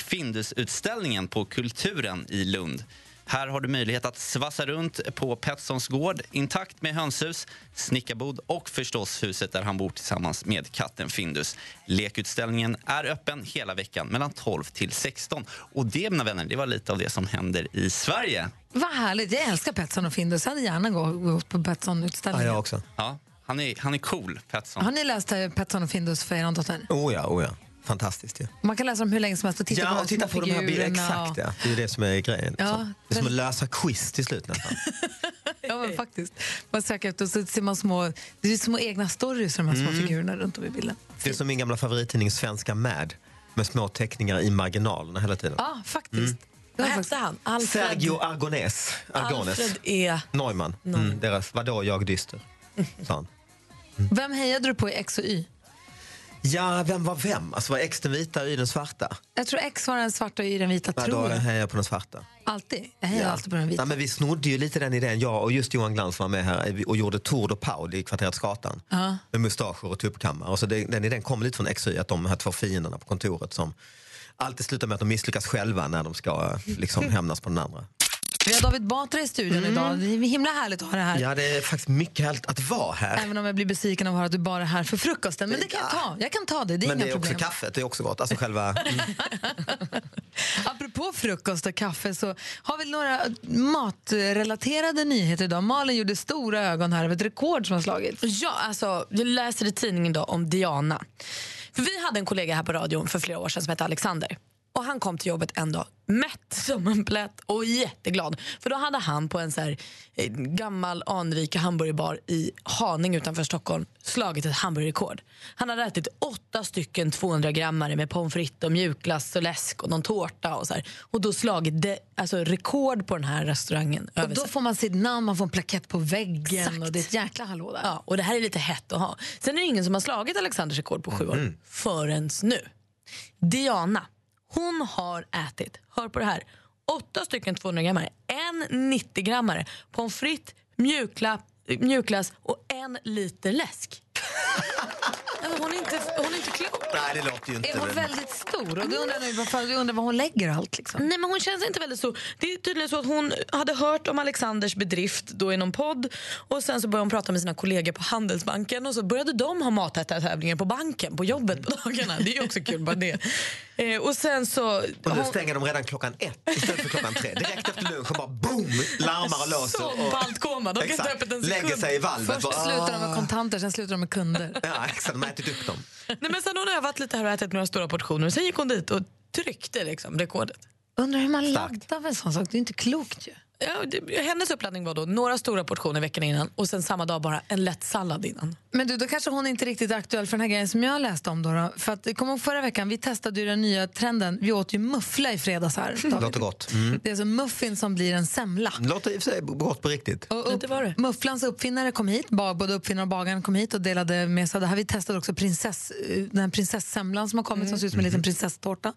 [SPEAKER 7] Findus-utställningen på Kulturen i Lund. Här har du möjlighet att svassa runt på Petssons gård intakt med hönshus, snickarbod och förstås huset där han bor tillsammans med katten Findus. Lekutställningen är öppen hela veckan mellan 12 till 16. Och det, mina vänner, det var lite av det som händer i Sverige.
[SPEAKER 3] Vad härligt. Jag älskar Petsson och Findus. Jag hade gärna gå- gått på Petsson-utställningen.
[SPEAKER 13] också.
[SPEAKER 7] Ja, han är, han är cool, Petsson.
[SPEAKER 3] Har ni läst eh, Petsson och Findus för er dotter?
[SPEAKER 13] Oh ja, oh ja. Fantastiskt ju.
[SPEAKER 3] Man kan läsa dem hur länge som helst och titta på
[SPEAKER 13] Ja,
[SPEAKER 3] de
[SPEAKER 13] och titta
[SPEAKER 3] små
[SPEAKER 13] på de här bilderna.
[SPEAKER 3] figurerna och-
[SPEAKER 13] Exakt, ja. Det är ju det som är grejen.
[SPEAKER 3] Ja,
[SPEAKER 13] liksom. Det är som att lösa quiz till
[SPEAKER 3] (laughs)
[SPEAKER 13] slut nästan.
[SPEAKER 3] Ja, men faktiskt. Man söker efter och så ser man små, det är små egna stories de här små
[SPEAKER 13] Mm.
[SPEAKER 3] figurerna runt om i bilden.
[SPEAKER 13] Det är som min gamla favorittidning Svenska Mad med små teckningar i marginalerna hela tiden.
[SPEAKER 3] Ja,
[SPEAKER 13] Mm.
[SPEAKER 3] faktiskt.
[SPEAKER 4] Vad hette han? Alfred.
[SPEAKER 13] Sergio Argones. Argones.
[SPEAKER 4] Alfred E.
[SPEAKER 13] Neumann. Mm, deras Vadå jag dyster? sa han.
[SPEAKER 3] Vem hejade du på i X och Y?
[SPEAKER 13] Ja, vem var vem? Alltså var X den vita och Y den svarta?
[SPEAKER 3] Jag tror X var den svarta och Y den vita,
[SPEAKER 13] Nej, då
[SPEAKER 3] tror jag.
[SPEAKER 13] hejar jag på den svarta.
[SPEAKER 3] Alltid. Jag hejar alltid på den vita.
[SPEAKER 13] Nej, men vi snodde ju lite den idén, jag och just Johan Glans var med här eh, och gjorde Tour de Paul i kvarteret Skatan.
[SPEAKER 3] Ja.
[SPEAKER 13] Med mustascher och tuppkammar. Och så det, den idén kom lite från XY, att de här två fienderna på kontoret som alltid slutar med att de misslyckas själva när de ska eh,
[SPEAKER 3] (laughs)
[SPEAKER 13] liksom hämnas på den andra.
[SPEAKER 3] Vi har David Batra i studion idag. Det är himla härligt att ha det här.
[SPEAKER 13] Mm. Ja, det är faktiskt mycket härligt att vara här.
[SPEAKER 3] Även om jag blir besviken av att höra att du bara är här för frukosten. Men det kan jag ta. Jag kan ta det. Det är
[SPEAKER 13] Men
[SPEAKER 3] inga
[SPEAKER 13] det är också
[SPEAKER 3] problem.
[SPEAKER 13] kaffet, det är också gott.
[SPEAKER 3] (laughs)
[SPEAKER 13] Alltså själva...
[SPEAKER 3] Apropå frukost och kaffe så har vi några matrelaterade nyheter idag. Malin gjorde stora ögon här över ett rekord som har slagits.
[SPEAKER 4] Ja, alltså, jag läser i tidningen idag om Diana. För vi hade en kollega här på radion för flera år sedan som hette Alexander. Och Han kom till jobbet en dag mätt som en plätt och jätteglad. För Då hade han på en så här, eh, gammal anrik hamburgerbar i Haninge utanför Stockholm slagit ett hamburgerrekord. Han hade ätit åtta stycken 200-grammare med pommes frites och mjukglass och läsk och någon tårta. Och, så här. och då slagit det, alltså, rekord på den här restaurangen.
[SPEAKER 3] Och då får man sitt namn, man får en plakett på väggen och det är ett jäkla hallå där.
[SPEAKER 4] Ja, och det här är lite hett att ha. Sen är det ingen som har slagit Alexanders rekord på sju år. Förrän nu. Diana, hon har ätit, hör på det här, åtta stycken 200-grammare, en 90-grammare, pommes frites, mjukla, mjukglass och en liter läsk. (laughs) Alltså, hon, är inte, hon är inte klok.
[SPEAKER 13] Nej, det låter ju inte...
[SPEAKER 3] Är hon väldigt stor? Och du undrar, nu varför, du undrar var hon lägger allt. Liksom.
[SPEAKER 4] Nej, men hon känns inte väldigt så. Det är tydligen så att hon hade hört om Alexanders bedrift då i någon podd och sen så började hon prata med sina kollegor på Handelsbanken och så började de ha matätartävlingar på banken, på jobbet på dagarna. Det är ju också kul bara det. Eh, och sen så...
[SPEAKER 13] Och nu
[SPEAKER 4] hon-
[SPEAKER 13] stänger de redan klockan ett istället för klockan tre. Direkt efter lunch och bara boom! Larmar och låser.
[SPEAKER 4] Som
[SPEAKER 13] och-
[SPEAKER 4] baltkoma, de kan inte
[SPEAKER 13] Exakt.
[SPEAKER 4] öppet en
[SPEAKER 13] Lägger
[SPEAKER 4] sekund.
[SPEAKER 13] sig i valvet.
[SPEAKER 3] Först
[SPEAKER 13] bara,
[SPEAKER 3] slutar de
[SPEAKER 13] "Ah."
[SPEAKER 3] med kontanter, sen slutar de med kunder.
[SPEAKER 13] Ja, exakt. De har ätit upp dem.
[SPEAKER 4] Nej, men sen har hon övat lite här och ätit några stora portioner. Sen gick hon dit och tryckte liksom rekordet.
[SPEAKER 3] Undrar hur man laddar med en sån sak? Det är inte klokt ju.
[SPEAKER 4] Ja, det, hennes uppladdning var då några stora portioner veckan innan och sen samma dag bara en lätt sallad innan.
[SPEAKER 3] Men du, då kanske hon inte riktigt är aktuell för den här grejen som jag läste om. Då, då. För att, kom ihåg förra veckan, vi testade ju den nya trenden. Vi åt ju muffla i fredags här. David.
[SPEAKER 13] Låter gott. Mm.
[SPEAKER 3] Det är alltså muffin som blir en semla.
[SPEAKER 13] Låter i och för sig gott på riktigt.
[SPEAKER 3] Och upp, Mufflans uppfinnare kom hit, ba- både uppfinnaren och bagaren kom hit och delade med sig av det här. Vi testade också prinsess, eh, den här prinsessemlan som har kommit
[SPEAKER 4] Mm.
[SPEAKER 3] som ser ut som en
[SPEAKER 4] Mhm.
[SPEAKER 3] liten prinsesstårta.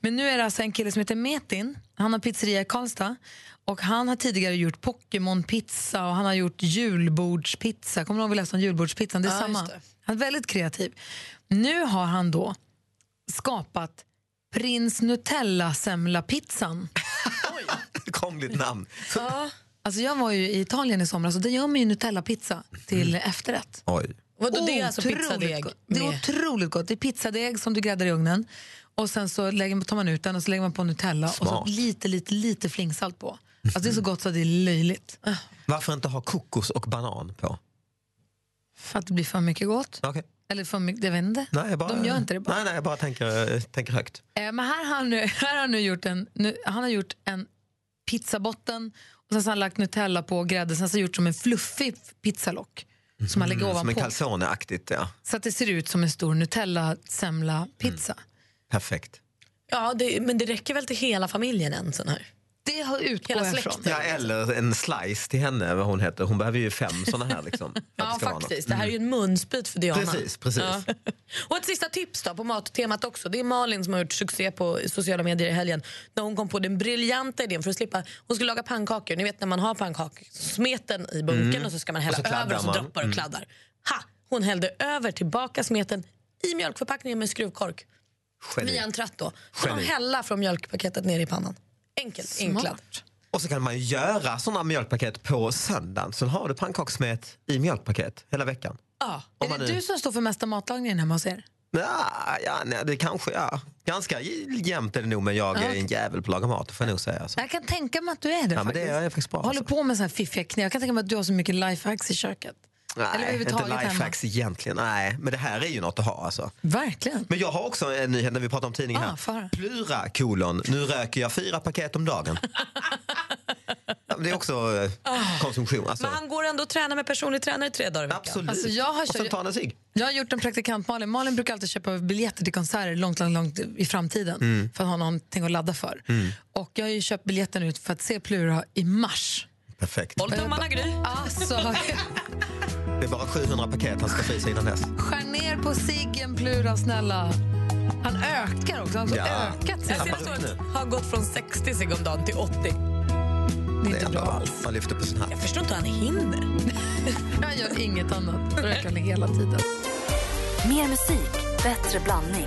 [SPEAKER 3] Men nu är det alltså en kille som heter Metin. Han har pizzeria i Karlstad. Och han har tidigare gjort Pokémon-pizza och han har gjort julbordspizza. Kommer du ihåg vi läste om julbordspizzan? Det är
[SPEAKER 4] Ja,
[SPEAKER 3] samma.
[SPEAKER 4] just det.
[SPEAKER 3] Han är väldigt kreativ. Nu har han då skapat Prins Nutella-semla-pizzan.
[SPEAKER 13] (laughs) Krångligt namn.
[SPEAKER 3] Ja. Alltså jag var ju i Italien i somras och där gör man ju Nutella-pizza till efterrätt.
[SPEAKER 13] Oj.
[SPEAKER 4] Mm. Vadå, det är alltså
[SPEAKER 3] Otroligt
[SPEAKER 4] pizzadeg
[SPEAKER 3] gott. Det är
[SPEAKER 4] med-
[SPEAKER 3] otroligt gott. Det är pizzadeg som du gräddar i ugnen och sen så lägger, tar man ut den och så lägger man på Nutella och
[SPEAKER 13] Smart.
[SPEAKER 3] så lite, lite, lite flingsalt på. Alltså det är så
[SPEAKER 4] Mm.
[SPEAKER 3] gott så det är löjligt.
[SPEAKER 4] Ah.
[SPEAKER 13] Varför inte ha kokos och banan på?
[SPEAKER 3] För att det blir för mycket gott.
[SPEAKER 13] Okej.
[SPEAKER 3] Eller för mycket, jag vet inte.
[SPEAKER 13] Nej, jag bara,
[SPEAKER 3] De gör inte det bara.
[SPEAKER 13] Nej, nej, jag bara tänker, eh, tänker högt.
[SPEAKER 3] Eh, men här har han nu, (laughs) här har han nu gjort en, nu, han har gjort en pizzabotten och sen så har han lagt Nutella på grädden sen så har han gjort som en fluffig pizzalock som han lägger
[SPEAKER 13] Mm,
[SPEAKER 3] ovanpå.
[SPEAKER 13] Som en calzone-aktigt, ja.
[SPEAKER 3] Så att det ser ut som en stor Nutella-semla-pizza.
[SPEAKER 13] Perfekt.
[SPEAKER 4] Ja, det, men det räcker väl till hela familjen en sån här?
[SPEAKER 3] Det har utgår
[SPEAKER 4] hela
[SPEAKER 3] jag
[SPEAKER 4] släkten.
[SPEAKER 3] ifrån.
[SPEAKER 13] Ja, eller en slice till henne, vad hon heter. Hon behöver ju fem såna
[SPEAKER 3] (laughs)
[SPEAKER 13] här. Liksom, för att det
[SPEAKER 4] Ja,
[SPEAKER 13] ska vara
[SPEAKER 4] faktiskt.
[SPEAKER 13] något. Mm.
[SPEAKER 4] Det här är ju en munsbit för Diana.
[SPEAKER 13] Precis, precis.
[SPEAKER 4] Ja. Och ett sista tips då på mattemat också. Det är Malin som har gjort succé på sociala medier i helgen. När hon kom på den briljanta idén för att slippa... Hon skulle laga pannkakor. Ni vet när man har pannkakor, smeten i bunken
[SPEAKER 13] Mm.
[SPEAKER 4] och så ska man
[SPEAKER 13] Och så
[SPEAKER 4] hälla
[SPEAKER 13] kladdar
[SPEAKER 4] över och så
[SPEAKER 13] man.
[SPEAKER 4] droppar och
[SPEAKER 13] Mm.
[SPEAKER 4] kladdar. Ha! Hon hällde över tillbaka smeten i mjölkförpackningen med skruvkork.
[SPEAKER 13] Geni.
[SPEAKER 4] Via en tratt då. Så man
[SPEAKER 13] Mm. Geni.
[SPEAKER 4] hälla från mjölkpaketet ner i pannan. Enkelt, enklad.
[SPEAKER 13] Och så kan man ju göra såna mjölkpaket på söndagen. Sen har du pannkakssmet i mjölkpaket hela veckan.
[SPEAKER 3] Ja.
[SPEAKER 13] Om
[SPEAKER 3] Är
[SPEAKER 13] man
[SPEAKER 3] det
[SPEAKER 13] nu-
[SPEAKER 3] du som står för mesta matlagningen hemma hos er?
[SPEAKER 13] Ja, ja, nej, det kanske, ja. Ganska jämnt är det nog, men jag är en jävel på att laga mat, får jag nog säga. Så.
[SPEAKER 3] Jag kan tänka mig att du är det
[SPEAKER 13] Ja, men det
[SPEAKER 3] faktiskt.
[SPEAKER 13] är jag faktiskt bra,
[SPEAKER 3] Håller
[SPEAKER 13] alltså.
[SPEAKER 3] på med så här fiffiga knep. Jag kan tänka mig att du har så mycket lifehacks i köket.
[SPEAKER 13] Nej, inte
[SPEAKER 3] överhuvudtaget
[SPEAKER 13] lifehacks egentligen. Nej, men det här är ju något att ha alltså.
[SPEAKER 3] Verkligen.
[SPEAKER 13] Men jag har också en nyhet när vi pratar om tidningar
[SPEAKER 3] Ah, få
[SPEAKER 13] här. Plura kolon, nu röker jag fyra paket
[SPEAKER 3] (laughs)
[SPEAKER 13] om dagen. ja, men det är också eh, konsumtion. Alltså.
[SPEAKER 4] Men han går ändå och tränar med personlig tränare tre dagar i veckan.
[SPEAKER 13] Absolut.
[SPEAKER 3] Alltså, jag har
[SPEAKER 13] Och sen
[SPEAKER 3] kört-
[SPEAKER 13] tar han en cigg.
[SPEAKER 3] Jag har gjort en praktikant Malin. Malin brukar alltid köpa biljetter till konserter långt, långt, långt i framtiden
[SPEAKER 13] Mm.
[SPEAKER 3] för att ha någonting att ladda för.
[SPEAKER 13] Mm.
[SPEAKER 3] Och jag har ju köpt biljetten ut för att se Plura i mars.
[SPEAKER 13] Perfekt.
[SPEAKER 3] Håll tummarna, Gry. Alltså,
[SPEAKER 13] Det är bara 700 paket han ska frysa innan dess.
[SPEAKER 3] skär ner mer på Siggen Plura, snälla. Han ökar också. Han har
[SPEAKER 4] Ja.
[SPEAKER 3] ökat sig.
[SPEAKER 4] Jag ser att
[SPEAKER 13] nu.
[SPEAKER 4] han har gått från 60 cigg om dagen till 80.
[SPEAKER 13] Det är ändå allt man lyfter på sin hatt.
[SPEAKER 4] Jag förstår inte hur han hinner.
[SPEAKER 3] Han gör inget annat. Röker han hela tiden.
[SPEAKER 16] Mer musik, bättre blandning.